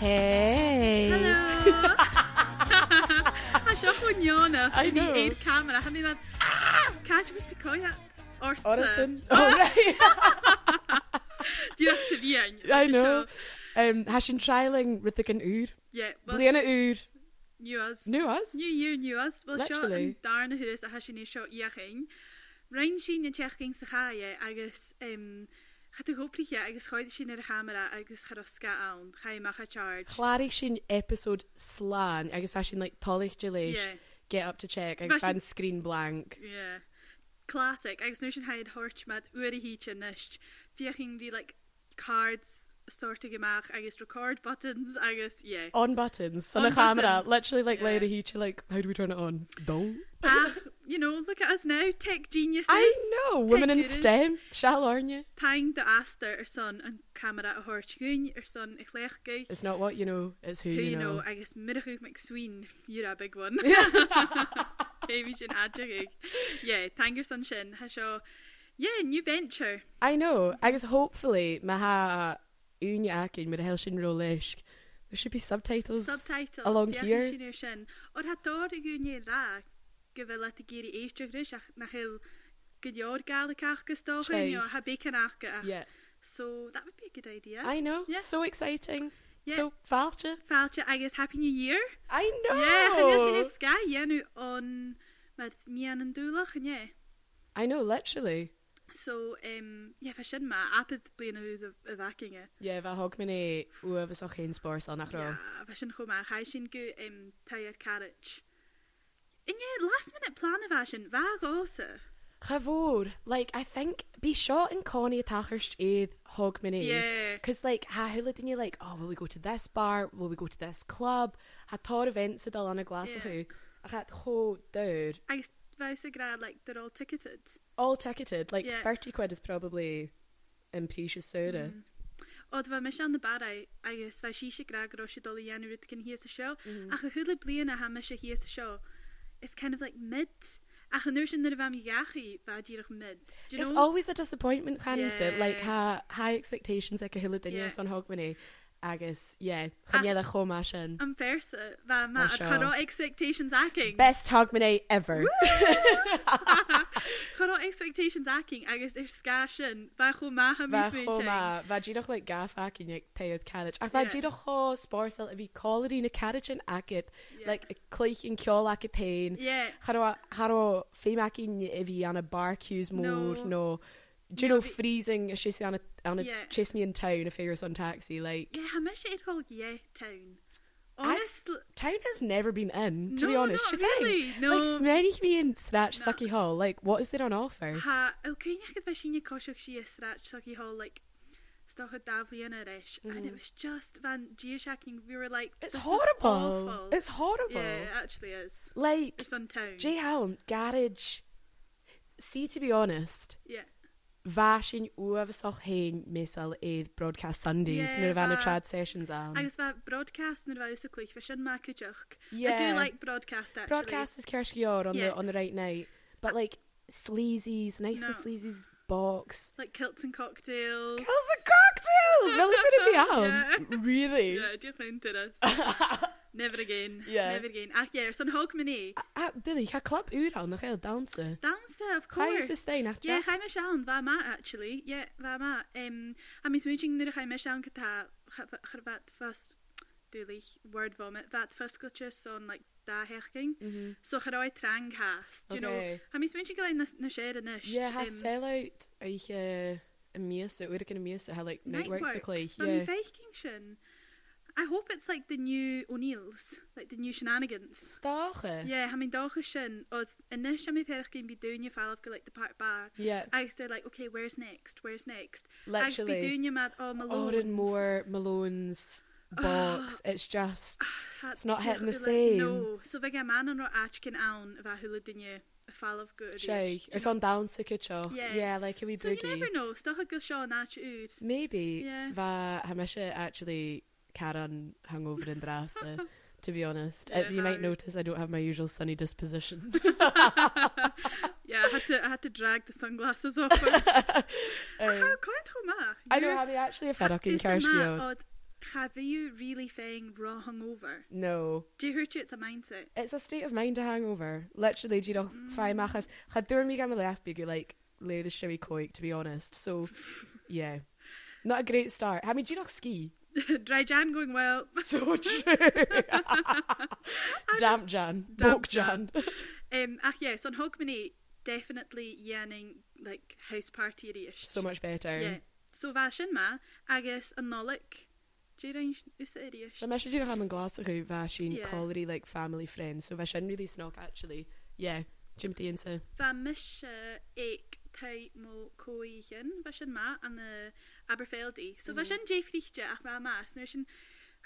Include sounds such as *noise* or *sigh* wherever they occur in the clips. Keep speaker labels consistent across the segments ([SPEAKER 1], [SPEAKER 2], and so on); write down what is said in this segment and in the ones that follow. [SPEAKER 1] Hey. *laughs*
[SPEAKER 2] Hello. A sio ffoniona. Fi
[SPEAKER 1] I know.
[SPEAKER 2] eir camera. Ha mi fan... Cash was picoia. Orson.
[SPEAKER 1] Orison. *laughs*
[SPEAKER 2] *laughs*
[SPEAKER 1] Oh, right.
[SPEAKER 2] Dwi'n ac fie'n.
[SPEAKER 1] I know. Um, has sin trialing rithig an úr.
[SPEAKER 2] Yeah. well,
[SPEAKER 1] Bliana úr.
[SPEAKER 2] New us.
[SPEAKER 1] Nu as?
[SPEAKER 2] New year, new us. Wel, sio
[SPEAKER 1] Literally.
[SPEAKER 2] yn dar na hwyrus a hasin i sio iaching. Rhain sy'n yn tiach gyng sychau agos... Um, Chad y gwbl i chi agos choedd sy'n yr camera agos charosga awn. Chai mach a charge.
[SPEAKER 1] Chlárí sin episode slán agus fe sin like, tolich geléis
[SPEAKER 2] Yeah.
[SPEAKER 1] get up to check
[SPEAKER 2] Bheith
[SPEAKER 1] agus
[SPEAKER 2] sin-
[SPEAKER 1] fan screen blank.
[SPEAKER 2] Yeah. Classic. Agus nu sin haid hort mad uair hí sin nist. Fiaching di like cards sorta gemach agus record buttons agus yeah.
[SPEAKER 1] On buttons, on,
[SPEAKER 2] On
[SPEAKER 1] on a camera,
[SPEAKER 2] buttons.
[SPEAKER 1] literally like
[SPEAKER 2] Yeah.
[SPEAKER 1] yeah. later he like, how do we turn it on? Don't.
[SPEAKER 2] Ach, Ah, you know, look at us now, tech geniuses.
[SPEAKER 1] I know, women in
[SPEAKER 2] gurus.
[SPEAKER 1] STEM, shall aren't you?
[SPEAKER 2] Tang de aster ar son an camera a hort gún ar son i chléchgu.
[SPEAKER 1] It's not what you know, it's who,
[SPEAKER 2] Who you know, agus mirachúg mac swín, you're a big one. *laughs* Baby sin adjagig. Yeah, tang your son sin. Ha seo, yeah, new venture.
[SPEAKER 1] I know. I guess hopefully maha unyakin with a helshin rolish. There should be subtitles,
[SPEAKER 2] subtitles
[SPEAKER 1] along
[SPEAKER 2] diolch
[SPEAKER 1] here.
[SPEAKER 2] yn siŵr sin. O'r hador y gwyni ra, gyfer let y geiri eistio grys, ach na chael gydior gael y cach gystoch yn
[SPEAKER 1] Chai.
[SPEAKER 2] yw, ha bacon ach gyda.
[SPEAKER 1] Yeah,
[SPEAKER 2] So, that would be a good idea.
[SPEAKER 1] I know.
[SPEAKER 2] Yeah.
[SPEAKER 1] So exciting.
[SPEAKER 2] Yeah.
[SPEAKER 1] So falcha.
[SPEAKER 2] Falcha, I guess, Happy New Year.
[SPEAKER 1] I know.
[SPEAKER 2] Yeah, *laughs* hynny sy'n i'r sgai, ie, nhw on... Mae'r mian yn dwylach, yn ie.
[SPEAKER 1] I know, literally.
[SPEAKER 2] So, um, ie, fe sy'n ma, apydd blin nhw y facing e.
[SPEAKER 1] Yeah, fa hog mini ua fys o'ch hen spors o'n achro.
[SPEAKER 2] Yeah, fe sy'n chwma, chai sy'n gw um, tair carriage. Yn ie, last minute plan y fe sy'n, fag osa.
[SPEAKER 1] Chavor, like, I think, be shot in Connie Tachers Aid hog mini.
[SPEAKER 2] Yeah.
[SPEAKER 1] Because, like, ha hula didn't you like, oh, will we go to this bar? Will we go to this club? Ha tor events with Alana Glass of
[SPEAKER 2] Yeah.
[SPEAKER 1] who. I had ho dude.
[SPEAKER 2] I s- vows a grad like they're all ticketed.
[SPEAKER 1] all ticketed. Like
[SPEAKER 2] Yeah.
[SPEAKER 1] yeah. thirty quid is probably imprecious soda. Mm.
[SPEAKER 2] Oedd fe mis an y bar ai, agos fe si eisiau grad gros i dol i enw rydych yn hi as y sio,
[SPEAKER 1] Mhm.
[SPEAKER 2] ac y hwyl y blian a ham eisiau hi as y sio, it's kind of like mid. Ac yn nwyrs yn yr fam i iachu, fe dirach mid. Do you
[SPEAKER 1] It's
[SPEAKER 2] know?
[SPEAKER 1] always a disappointment, can yeah. it? Like
[SPEAKER 2] Yeah.
[SPEAKER 1] ha, high expectations, like a hula
[SPEAKER 2] Yeah.
[SPEAKER 1] yeah. on Hogmanay. Agus, yeah,
[SPEAKER 2] Ah.
[SPEAKER 1] chanyela chomashin.
[SPEAKER 2] Am fersa, fe ma, a
[SPEAKER 1] sure.
[SPEAKER 2] charo expectations acing.
[SPEAKER 1] Best Hogmanay ever.
[SPEAKER 2] Charo expectations acing, agos i'r sgasyn, fe chw ma ham i
[SPEAKER 1] Va
[SPEAKER 2] swynching.
[SPEAKER 1] choma, va gyrwch like gaff ac yn yw'ch teud carriage. Ac va
[SPEAKER 2] Yeah.
[SPEAKER 1] gyrwch ho spors el efi colori yn y carriage yn agyd.
[SPEAKER 2] Yeah.
[SPEAKER 1] Like a cleich yn ciol ac y pain.
[SPEAKER 2] Yeah.
[SPEAKER 1] Haro, haro, ffeim ac yn efi an y bar cues
[SPEAKER 2] No.
[SPEAKER 1] môr, no. Do you know, freezing, a chase me on a, on a
[SPEAKER 2] Yeah.
[SPEAKER 1] yeah. chase me in town, a figures on taxi, like.
[SPEAKER 2] Yeah, ham eisiau i'r hol ie town.
[SPEAKER 1] I-
[SPEAKER 2] Honestly,
[SPEAKER 1] Town has never been in, to be
[SPEAKER 2] No,
[SPEAKER 1] honest.
[SPEAKER 2] not
[SPEAKER 1] do you think?
[SPEAKER 2] really, no.
[SPEAKER 1] Like, Smerig me in Snatch
[SPEAKER 2] No.
[SPEAKER 1] Sucky Hall, like, what is there on offer?
[SPEAKER 2] Ha, yw cwyniach gyda sy'n i'n cosiwch si ysrach sag i hol, like, stoch o daflu yn yr ish. Mm. And it was just fan geoshacking. We were like,
[SPEAKER 1] It's
[SPEAKER 2] this is
[SPEAKER 1] horrible.
[SPEAKER 2] awful.
[SPEAKER 1] It's horrible.
[SPEAKER 2] Yeah, it actually is.
[SPEAKER 1] Like,
[SPEAKER 2] It's on town.
[SPEAKER 1] J Helm, Garage. See, to be honest,
[SPEAKER 2] yeah.
[SPEAKER 1] Vashin Uavasoch Hain Missal Aid Broadcast Sundays,
[SPEAKER 2] Yeah,
[SPEAKER 1] Nirvana
[SPEAKER 2] va-
[SPEAKER 1] Trad Sessions. Um,
[SPEAKER 2] Agus fa broadcast yn yr faws o clych, fe sy'n ma cwchach. I do
[SPEAKER 1] Yeah.
[SPEAKER 2] like broadcast, actually.
[SPEAKER 1] broadcast is Kershkior on
[SPEAKER 2] Yeah. Uh,
[SPEAKER 1] the on the right night, but like sleazy's nicely
[SPEAKER 2] No.
[SPEAKER 1] sleazy's box.
[SPEAKER 2] Like kilts and cocktails.
[SPEAKER 1] Kills and cocktails. Really sitting me out.
[SPEAKER 2] *laughs* Yeah.
[SPEAKER 1] Really.
[SPEAKER 2] Yeah, diolch yn dyrus.
[SPEAKER 1] *laughs*
[SPEAKER 2] Never again.
[SPEAKER 1] Yeah.
[SPEAKER 2] Never again. Ac ie, yeah, son hog mynd i.
[SPEAKER 1] Ah, Dilly, ha club ura on the hell dancer.
[SPEAKER 2] Dancer, of
[SPEAKER 1] How
[SPEAKER 2] course.
[SPEAKER 1] is this thing after?
[SPEAKER 2] Yeah, chai me siawn, fa ma, actually. Yeah, fa ma. Um, a mis mwyn nid chai me siawn gyda chyrfat ffast, dwi'n word vomit, that first glitcher son, like, da hechgyn.
[SPEAKER 1] Mhm.
[SPEAKER 2] So chyroi trang has, do you know?
[SPEAKER 1] Okay.
[SPEAKER 2] A mis mwyn gael na, na sier er yn ysg.
[SPEAKER 1] Yeah, ha sellout. Are you uh, a mias? We're gonna mias. How like networks look like?
[SPEAKER 2] Yeah.
[SPEAKER 1] Yeah.
[SPEAKER 2] Viking sin. I hope it's like the new O'Neills, like the new shenanigans.
[SPEAKER 1] Stache.
[SPEAKER 2] Yeah, ha mi'n doch y sin, oedd yn ysg am i ddech chi'n byd dwi'n yw falaf gyda like, the park bar.
[SPEAKER 1] Yeah.
[SPEAKER 2] I they're like, okay, where's next? Where's next? I
[SPEAKER 1] Literally.
[SPEAKER 2] be doing your mad oh Malone.
[SPEAKER 1] Orin
[SPEAKER 2] *sighs*
[SPEAKER 1] Moore, Malone's
[SPEAKER 2] *gasps*
[SPEAKER 1] box. it's just it's not hitting the same.
[SPEAKER 2] No. So fe gen man yn o'r achgyn awn y fa hwyl ydyn ni y fall of good.
[SPEAKER 1] shy. It's on down to Kitcho.
[SPEAKER 2] Yeah.
[SPEAKER 1] Yeah, like a wee
[SPEAKER 2] So you
[SPEAKER 1] boogie.
[SPEAKER 2] never know. Stoch o gael Sean ach ywyd.
[SPEAKER 1] Maybe
[SPEAKER 2] Yeah.
[SPEAKER 1] va Hamisha actually Karen hungover in Drasta. To be
[SPEAKER 2] *laughs*
[SPEAKER 1] honest,
[SPEAKER 2] Yeah,
[SPEAKER 1] uh, you might
[SPEAKER 2] Harry.
[SPEAKER 1] notice I don't have my usual sunny disposition.
[SPEAKER 2] Yeah, I had to, I had to drag the sunglasses
[SPEAKER 1] *laughs*
[SPEAKER 2] off. *laughs* How quite hwma?
[SPEAKER 1] Um, I know how they actually if I can
[SPEAKER 2] Is yma
[SPEAKER 1] Kershkiod.
[SPEAKER 2] oedd Have you really feeling raw hungover?
[SPEAKER 1] No.
[SPEAKER 2] Do you hurt you? It's a mindset. *laughs*
[SPEAKER 1] It's a state of mind a hangover. Literally, do you know,
[SPEAKER 2] Mm.
[SPEAKER 1] five machas. Had there me gamma left big, like, lay the shimmy coik, to be
[SPEAKER 2] *laughs*
[SPEAKER 1] honest. So, yeah. Not a great start. I mean, do you know ski?
[SPEAKER 2] *laughs* Dry Jan going well.
[SPEAKER 1] So true. *laughs* Damp Jan.
[SPEAKER 2] Damp
[SPEAKER 1] Boke Jan.
[SPEAKER 2] Um, ach yes, on Hogmanay, definitely yearning like house party ish.
[SPEAKER 1] *laughs* So much better.
[SPEAKER 2] yeah. So vashin ma, agus an nolik. Do you range usa ish?
[SPEAKER 1] Mae eisiau dyn nhw am yn glas o'ch fashion
[SPEAKER 2] Yeah.
[SPEAKER 1] collery like family friends, so fashion really snog actually. Yeah, Jim Dean to.
[SPEAKER 2] Famisha eik tai mo koihin vashin ma an the Aberfeldy. So
[SPEAKER 1] Mm.
[SPEAKER 2] vashin Jay Frichte ach ma mas nushin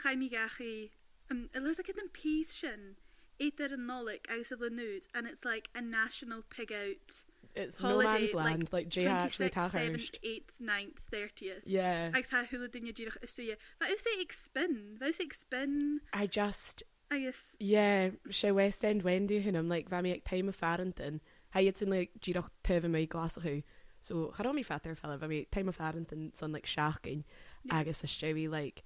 [SPEAKER 2] chaimi gachi. Um, Elizabeth and Peace shin. Eat there a nolik out of the nude, and it's like a national pig out.
[SPEAKER 1] It's Holiday, no
[SPEAKER 2] holiday
[SPEAKER 1] man's land, like Jay Hatch with
[SPEAKER 2] 7th,
[SPEAKER 1] Cahirst.
[SPEAKER 2] 8th, 9th, 30th.
[SPEAKER 1] Yeah, I,
[SPEAKER 2] Ag tá thula duine ddíireach isúe. Bá ús é ag spin, bhs ag spin
[SPEAKER 1] I just,
[SPEAKER 2] agus
[SPEAKER 1] yeah, she West End Wendy hun am like fami ag time of Farrington. Hi, it's in like Giroch tefn my glas o'ch So charomi fatter fella fami ag time of Farrington son like shacking. Yeah. Agus a shewi like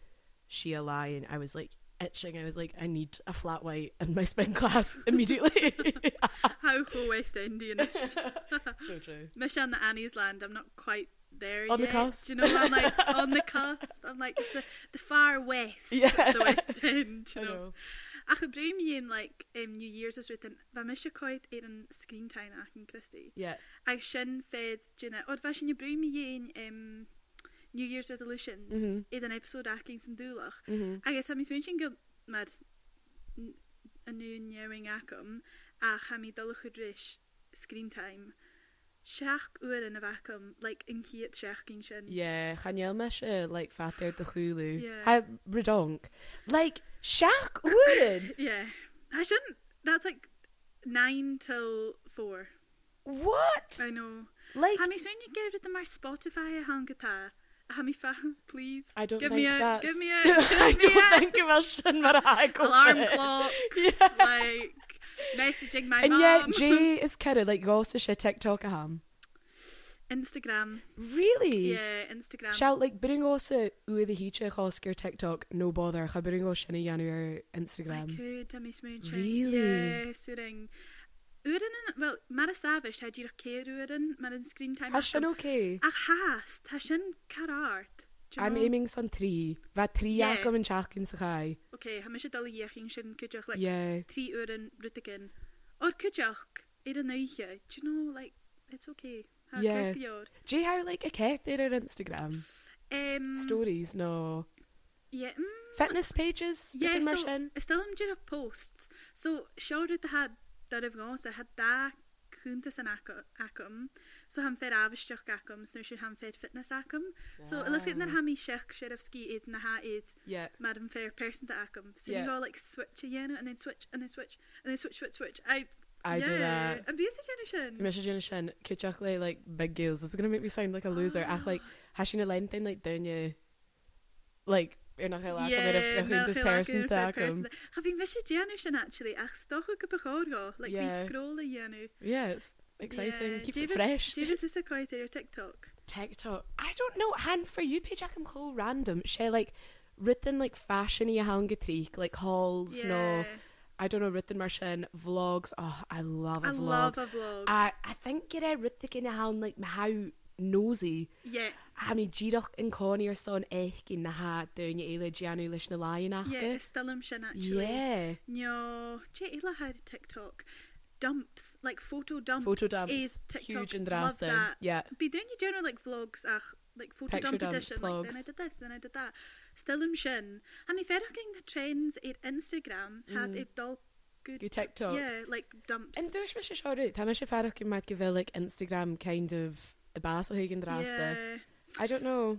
[SPEAKER 1] she a lie and I was like itching. I was like I need a flat white in my spin *laughs* class immediately. *laughs*
[SPEAKER 2] how go West Indianish.
[SPEAKER 1] so true.
[SPEAKER 2] Mish on the Annie's land, I'm not quite there
[SPEAKER 1] On the
[SPEAKER 2] yet.
[SPEAKER 1] cusp.
[SPEAKER 2] Do you know what I'm like on the cusp? I'm like the, the far west
[SPEAKER 1] Yeah.
[SPEAKER 2] of the West End, do
[SPEAKER 1] *laughs* I
[SPEAKER 2] you know.
[SPEAKER 1] know.
[SPEAKER 2] Ach go breim híon like um, New Year's is written bá mis se coid ar an screentain ach an Christie.
[SPEAKER 1] Yeah.
[SPEAKER 2] Ag sin fed duna ó bhe sin na breim híon um, New Year's resolutions
[SPEAKER 1] Mhm.
[SPEAKER 2] iad an episode aching san dúlach.
[SPEAKER 1] Mm-hmm.
[SPEAKER 2] agus ha mis sin go mar anúing acum a cha mi dul chudris screentime. Seach uair in a bhacum le in chiad seach cin sin.
[SPEAKER 1] Yeah, Chanel me se like fatter de Hulu.
[SPEAKER 2] Yeah.
[SPEAKER 1] Ha redonk. Like Shaq Wooden.
[SPEAKER 2] Yeah. I shouldn't. That's like nine till four.
[SPEAKER 1] what?
[SPEAKER 2] I know.
[SPEAKER 1] Like
[SPEAKER 2] Ha mi swin you give it the mar Spotify a hangata. Ha mi fa *laughs* please.
[SPEAKER 1] I don't
[SPEAKER 2] give
[SPEAKER 1] think
[SPEAKER 2] me a,
[SPEAKER 1] that's *laughs*
[SPEAKER 2] Give me a. Give
[SPEAKER 1] I
[SPEAKER 2] me a
[SPEAKER 1] don't think it was Shin
[SPEAKER 2] *laughs*
[SPEAKER 1] Marag.
[SPEAKER 2] alarm clock.
[SPEAKER 1] *laughs* Yeah.
[SPEAKER 2] like messaging my
[SPEAKER 1] And
[SPEAKER 2] mom.
[SPEAKER 1] yet Jay is kidding, like gosta she TikTok a ham.
[SPEAKER 2] Instagram.
[SPEAKER 1] Really?
[SPEAKER 2] Yeah, Instagram.
[SPEAKER 1] Shout like bring osa ue the hiche hosker TikTok, no bother. Ha bring os shinny yanu
[SPEAKER 2] I
[SPEAKER 1] Instagram.
[SPEAKER 2] could, Demi Smooching.
[SPEAKER 1] Really?
[SPEAKER 2] Yeah, suiting. Urin yn, wel, mae'r safis, ta ddio'r ceir urin, mae'n screen time.
[SPEAKER 1] Ha shin okay.
[SPEAKER 2] A chas, ta sy'n car art.
[SPEAKER 1] I'm aiming son three. Va three
[SPEAKER 2] Yeah.
[SPEAKER 1] akum and chakin sakai.
[SPEAKER 2] Ok, ha mysio dal i iechyn sy'n cydioch, like,
[SPEAKER 1] Yeah.
[SPEAKER 2] tri urin rydygyn. O'r cydioch, i'r yn eiche, do you know, like, it's ok. Ha,
[SPEAKER 1] Yeah.
[SPEAKER 2] yeah. Gwrs
[SPEAKER 1] Do you have like a cat there on Instagram?
[SPEAKER 2] Um,
[SPEAKER 1] Stories, no.
[SPEAKER 2] Yeah, mm,
[SPEAKER 1] Fitness pages?
[SPEAKER 2] yeah,
[SPEAKER 1] Yes.
[SPEAKER 2] so, ystel am ddio'r posts. So, siwr rydych ha, dar efo gos, ha da cwntas yn acw- acwm. So han fer afisteach gacum so sé han fer fitness acum.
[SPEAKER 1] Ah.
[SPEAKER 2] So let's get ha mi sech sheriff ski id na ha id
[SPEAKER 1] Yeah.
[SPEAKER 2] mad an fair person to acum. So
[SPEAKER 1] Yeah.
[SPEAKER 2] you go like switch again and then switch and then switch and then switch switch switch. I
[SPEAKER 1] I do that.
[SPEAKER 2] And be a generation.
[SPEAKER 1] Michigan Shin, Kuchakle, like big gills. This is gonna make me sound like a loser.
[SPEAKER 2] *gasps*
[SPEAKER 1] Ach, like, Hashina Lentin, like, down you. Like, you're not gonna laugh at it if this person thakum.
[SPEAKER 2] Ha fi mis generation actually ach stoch go bechor go like
[SPEAKER 1] Yeah.
[SPEAKER 2] we scroll a yenu.
[SPEAKER 1] Yeah, it's exciting. Keeps it fresh.
[SPEAKER 2] Javis is a quite your TikTok.
[SPEAKER 1] TikTok. I don't know. And for you, page I can call random. She, like, written, like, fashion y hangatrik, like, hauls, no. I don't know, written Marshin, vlogs. Oh, I love a
[SPEAKER 2] I
[SPEAKER 1] vlog. Ah.
[SPEAKER 2] love a vlog.
[SPEAKER 1] I I think you're rhythmic in how like my how nosy.
[SPEAKER 2] yeah.
[SPEAKER 1] I mean, Giroch and Connie are son ech in the hat down your Ela Giannu lish na lion
[SPEAKER 2] Yeah,
[SPEAKER 1] after.
[SPEAKER 2] still am shin actually.
[SPEAKER 1] Oh, Yeah.
[SPEAKER 2] No, Jayla had a TikTok. Dumps, like photo dumps.
[SPEAKER 1] Photo dumps,
[SPEAKER 2] Is TikTok.
[SPEAKER 1] huge and
[SPEAKER 2] Love
[SPEAKER 1] drastic.
[SPEAKER 2] that.
[SPEAKER 1] Yeah.
[SPEAKER 2] Be doing your general like vlogs, ach, like photo
[SPEAKER 1] Picture
[SPEAKER 2] dump
[SPEAKER 1] dumps,
[SPEAKER 2] edition. Like then I
[SPEAKER 1] blogs.
[SPEAKER 2] did this, then I did that. Still am shin. I mean, ferraching the trends at Instagram had it all good.
[SPEAKER 1] Good Mm. TikTok.
[SPEAKER 2] Yeah, like dumps.
[SPEAKER 1] And there's Mr. Shorut. How much if I can make like Instagram kind of a basel hugen draste.
[SPEAKER 2] yeah.
[SPEAKER 1] I don't know.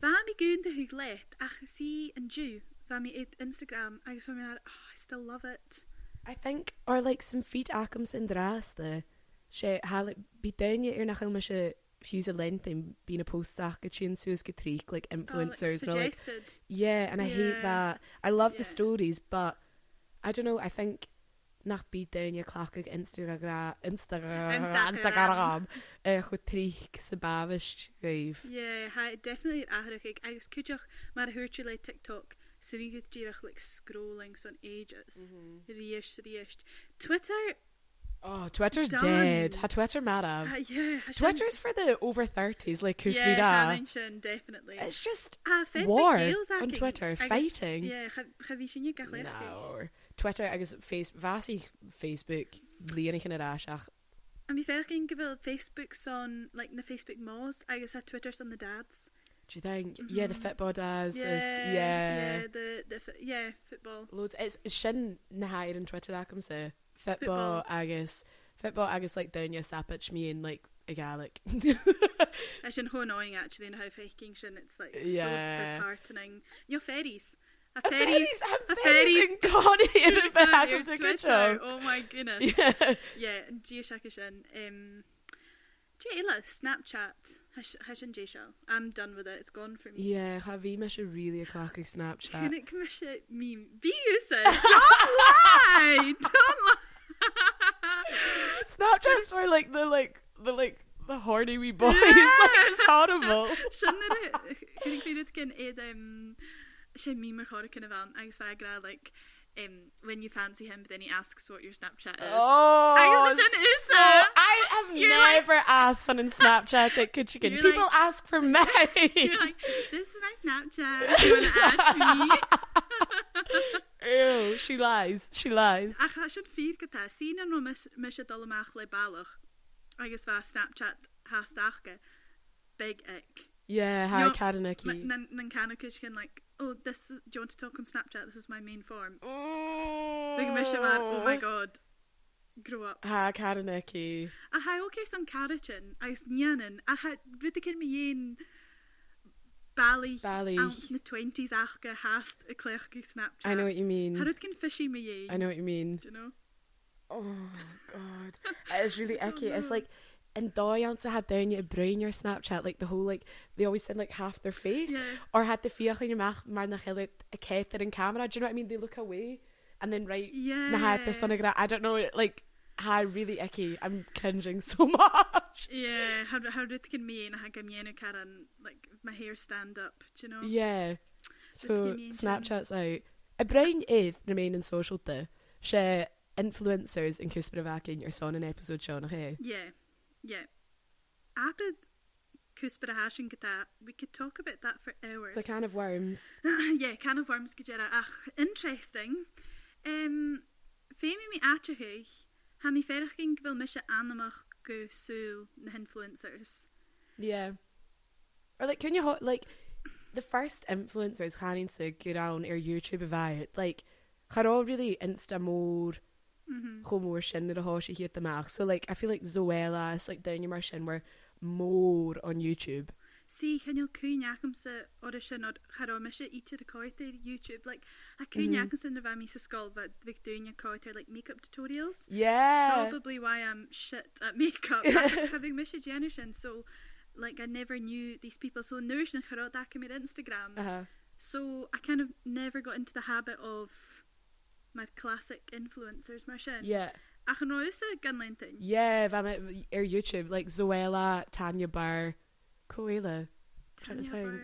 [SPEAKER 2] Waar me goon de huglet, ach, see and Jew. Waar me at Instagram, I just remember, oh, I still love it.
[SPEAKER 1] I think or like some feet akums in draste. She halit be down your nach much a fuse a length and being a post achin sues getreek like
[SPEAKER 2] Oh, like,
[SPEAKER 1] influencers and all like
[SPEAKER 2] suggested.
[SPEAKER 1] Yeah, and I hate
[SPEAKER 2] Yeah.
[SPEAKER 1] that. I love
[SPEAKER 2] Yeah.
[SPEAKER 1] the stories, but I don't know. I think nach bí daine clacha Instagram
[SPEAKER 2] Instagram.
[SPEAKER 1] Instagram Instagram eh, chu trí sa babist raibh.
[SPEAKER 2] Yeah, ha definitely ahrach ag agus cúideach mar thuirte le TikTok sa bhí chud díireach le scrolling son ages.
[SPEAKER 1] Mm-hmm.
[SPEAKER 2] Ríist ríist. Twitter
[SPEAKER 1] Oh, Twitter's
[SPEAKER 2] Done.
[SPEAKER 1] dead. Tá Twitter
[SPEAKER 2] ah,
[SPEAKER 1] marab.
[SPEAKER 2] yeah, ha sin-
[SPEAKER 1] Twitter's for the over 30s, like
[SPEAKER 2] yeah, ha
[SPEAKER 1] Kusrida.
[SPEAKER 2] nin sin, definitely.
[SPEAKER 1] It's just
[SPEAKER 2] Ah, Fed
[SPEAKER 1] war
[SPEAKER 2] McNeil's
[SPEAKER 1] on
[SPEAKER 2] acting.
[SPEAKER 1] Twitter,
[SPEAKER 2] Agus-
[SPEAKER 1] fighting.
[SPEAKER 2] Yeah, cha bhí sin ga le.
[SPEAKER 1] no. Twitter agus face vasi Facebook líanana in aráiseach.
[SPEAKER 2] Am bhí fer cin go bhfuil Facebook son like na Facebook mós agus a Twitter son na dads.
[SPEAKER 1] Do you think? Mm-hmm. Yeah, the Fitbod as yeah, is yeah.
[SPEAKER 2] yeah,
[SPEAKER 1] yeah.
[SPEAKER 2] the the fi- yeah football.
[SPEAKER 1] Loads. It's it's sin na hair in Twitter acum se.
[SPEAKER 2] Football.
[SPEAKER 1] Fitbod agus Fitbod agus like down your sapich me and like a Gaelic. *laughs*
[SPEAKER 2] I should how annoying actually and how faking shit it's like
[SPEAKER 1] Yeah.
[SPEAKER 2] so disheartening. Your fairies. A
[SPEAKER 1] Fairies,
[SPEAKER 2] fairies.
[SPEAKER 1] *laughs* I'm
[SPEAKER 2] a
[SPEAKER 1] fairies
[SPEAKER 2] fairies
[SPEAKER 1] and Connie in the
[SPEAKER 2] on
[SPEAKER 1] back
[SPEAKER 2] your
[SPEAKER 1] is a good
[SPEAKER 2] Twitter.
[SPEAKER 1] joke.
[SPEAKER 2] Oh my goodness.
[SPEAKER 1] *laughs* Yeah.
[SPEAKER 2] Yeah, and Geoshakishin. Um Jayla, Snapchat. Hash Hashin Jayshell. I'm done with it. It's gone for me.
[SPEAKER 1] Yeah, Javi me should really a clock
[SPEAKER 2] *laughs*
[SPEAKER 1] Snapchat.
[SPEAKER 2] Can it come a shit meme? Be using. Don't
[SPEAKER 1] *laughs*
[SPEAKER 2] lie. Don't lie.
[SPEAKER 1] Snapchats were like the like the like the horny wee boys. *laughs* like, it's
[SPEAKER 2] *laughs*
[SPEAKER 1] horrible.
[SPEAKER 2] Sin created cyn id um sé mí mar chora cyn fan agus fe gra like um when you fancy him but then he asks what your Snapchat is.
[SPEAKER 1] Oh,
[SPEAKER 2] I guess it is,
[SPEAKER 1] so
[SPEAKER 2] uh,
[SPEAKER 1] I have
[SPEAKER 2] you're like-
[SPEAKER 1] never asked on in Snapchat
[SPEAKER 2] *laughs*
[SPEAKER 1] that could chicken.
[SPEAKER 2] You're
[SPEAKER 1] People
[SPEAKER 2] like-
[SPEAKER 1] ask for me.
[SPEAKER 2] *laughs* You're like, this is my Snapchat. Do you want to
[SPEAKER 1] *laughs*
[SPEAKER 2] add me?
[SPEAKER 1] Ew, she lies. She lies.
[SPEAKER 2] Ach, a sin fi gyda, sy'n anno mis eisiau dolymach le balwch. Agus fa Snapchat hashtag ge. Big ick.
[SPEAKER 1] Yeah, hi,
[SPEAKER 2] No,
[SPEAKER 1] Kadanaki.
[SPEAKER 2] Nan canw cysgyn, like, oh, this is, do you want to talk on Snapchat? This is my main form. Like, eisiau mar, oh my god. Grow up.
[SPEAKER 1] Hi, Kadanaki.
[SPEAKER 2] A ha o ceir son carachin, agus nianan, a ha rydw cyn mi un bali
[SPEAKER 1] Bailí.
[SPEAKER 2] ounce na 20s ach ge hast y clech ge Snapchat. er
[SPEAKER 1] I know what you
[SPEAKER 2] Ha
[SPEAKER 1] mean.
[SPEAKER 2] rydw cyn fishy mi
[SPEAKER 1] I
[SPEAKER 2] un,
[SPEAKER 1] know what you mean.
[SPEAKER 2] do you know?
[SPEAKER 1] Oh
[SPEAKER 2] *laughs*
[SPEAKER 1] god, it's really icky.
[SPEAKER 2] Oh,
[SPEAKER 1] It's like, and Doyance had down your brain your Snapchat like the whole like they always send like half their face
[SPEAKER 2] Yeah.
[SPEAKER 1] or had the fear in your mouth mar na hill a ketter in camera. Do you know what I mean? They look away and then right na had
[SPEAKER 2] Yeah.
[SPEAKER 1] their sonogra. I don't know it, like. Hi, really icky. I'm cringing *laughs* so much.
[SPEAKER 2] Yeah, how how did can me and I had me and Karen like my hair stand up, do you know?
[SPEAKER 1] Yeah. So
[SPEAKER 2] convenient.
[SPEAKER 1] Snapchat's out. A brain eighth remain in social the share influencers in Kuspiravakin your son in episode Sean hey.
[SPEAKER 2] Yeah, yeah. After Cuspera hashing that, we could talk about that for hours.
[SPEAKER 1] It's a can of worms.
[SPEAKER 2] *laughs* yeah, can of worms gejera. Ach, interesting. Um, Femi mi atrehuig, ha mi ferach gyn gyfil misha anamach go sŵl na influencers.
[SPEAKER 1] Yeah. Or like can you ho- like the first influencers canning to go down or YouTube about it like had all really insta mode homer shin the hoshi hit the mouth so like I feel like Zoella is like down your shin were more on YouTube
[SPEAKER 2] Si, hynnyl cwn iacam sa o'r sy'n o'r charo misha i ti'n record ar YouTube. Like, a
[SPEAKER 1] Mm-hmm.
[SPEAKER 2] cwn iacam sa'n rhaid mi sa sgol, but fi'n dwi'n record ar like makeup tutorials.
[SPEAKER 1] yeah
[SPEAKER 2] probably why I'm shit at makeup
[SPEAKER 1] *laughs*
[SPEAKER 2] ha- having Misha generation so like I never knew these people so nourish and Harod Akamir Instagram
[SPEAKER 1] uh-huh
[SPEAKER 2] so I kind of never got into the habit of my classic influencers mar sin
[SPEAKER 1] yeah
[SPEAKER 2] Achan roi is a gunline thing
[SPEAKER 1] yeah if I'm at or YouTube like Zoella Tanya Barr Koela Trying to
[SPEAKER 2] Tanya
[SPEAKER 1] think.
[SPEAKER 2] Barr.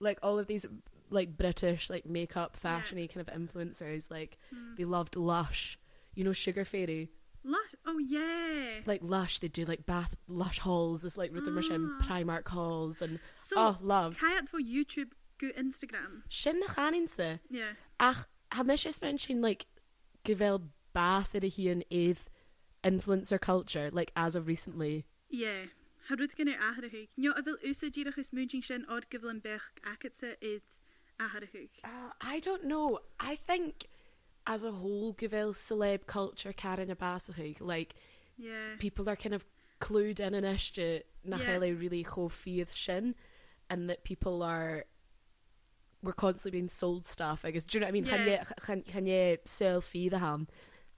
[SPEAKER 1] like all of these like British like makeup fashiony kind of influencers like they loved Lush you know Sugar Fairy
[SPEAKER 2] Lush oh yeah
[SPEAKER 1] like lush they do like bath lush halls it's like rhythm and primark halls and
[SPEAKER 2] so
[SPEAKER 1] oh love
[SPEAKER 2] Kayat for YouTube go Instagram
[SPEAKER 1] sin na chaninse
[SPEAKER 2] yeah
[SPEAKER 1] ach ha mis is men sin like gyfel bas ydy hi yn eidd influencer culture like as of recently
[SPEAKER 2] yeah Harod gynnar aharahug Nio a fil usa gyrach is mwjing sin o'r gyflym bech ac atsa idd aharahug
[SPEAKER 1] uh, I don't know I think as a whole gyfel celeb culture Karen a basachig like
[SPEAKER 2] yeah
[SPEAKER 1] people are kind of clued in an issue na
[SPEAKER 2] Mm. Yeah.
[SPEAKER 1] yeah. really ho fiad sin and that people are we're constantly being sold stuff I guess do you know what I mean
[SPEAKER 2] Yeah.
[SPEAKER 1] yeah. selfie the ham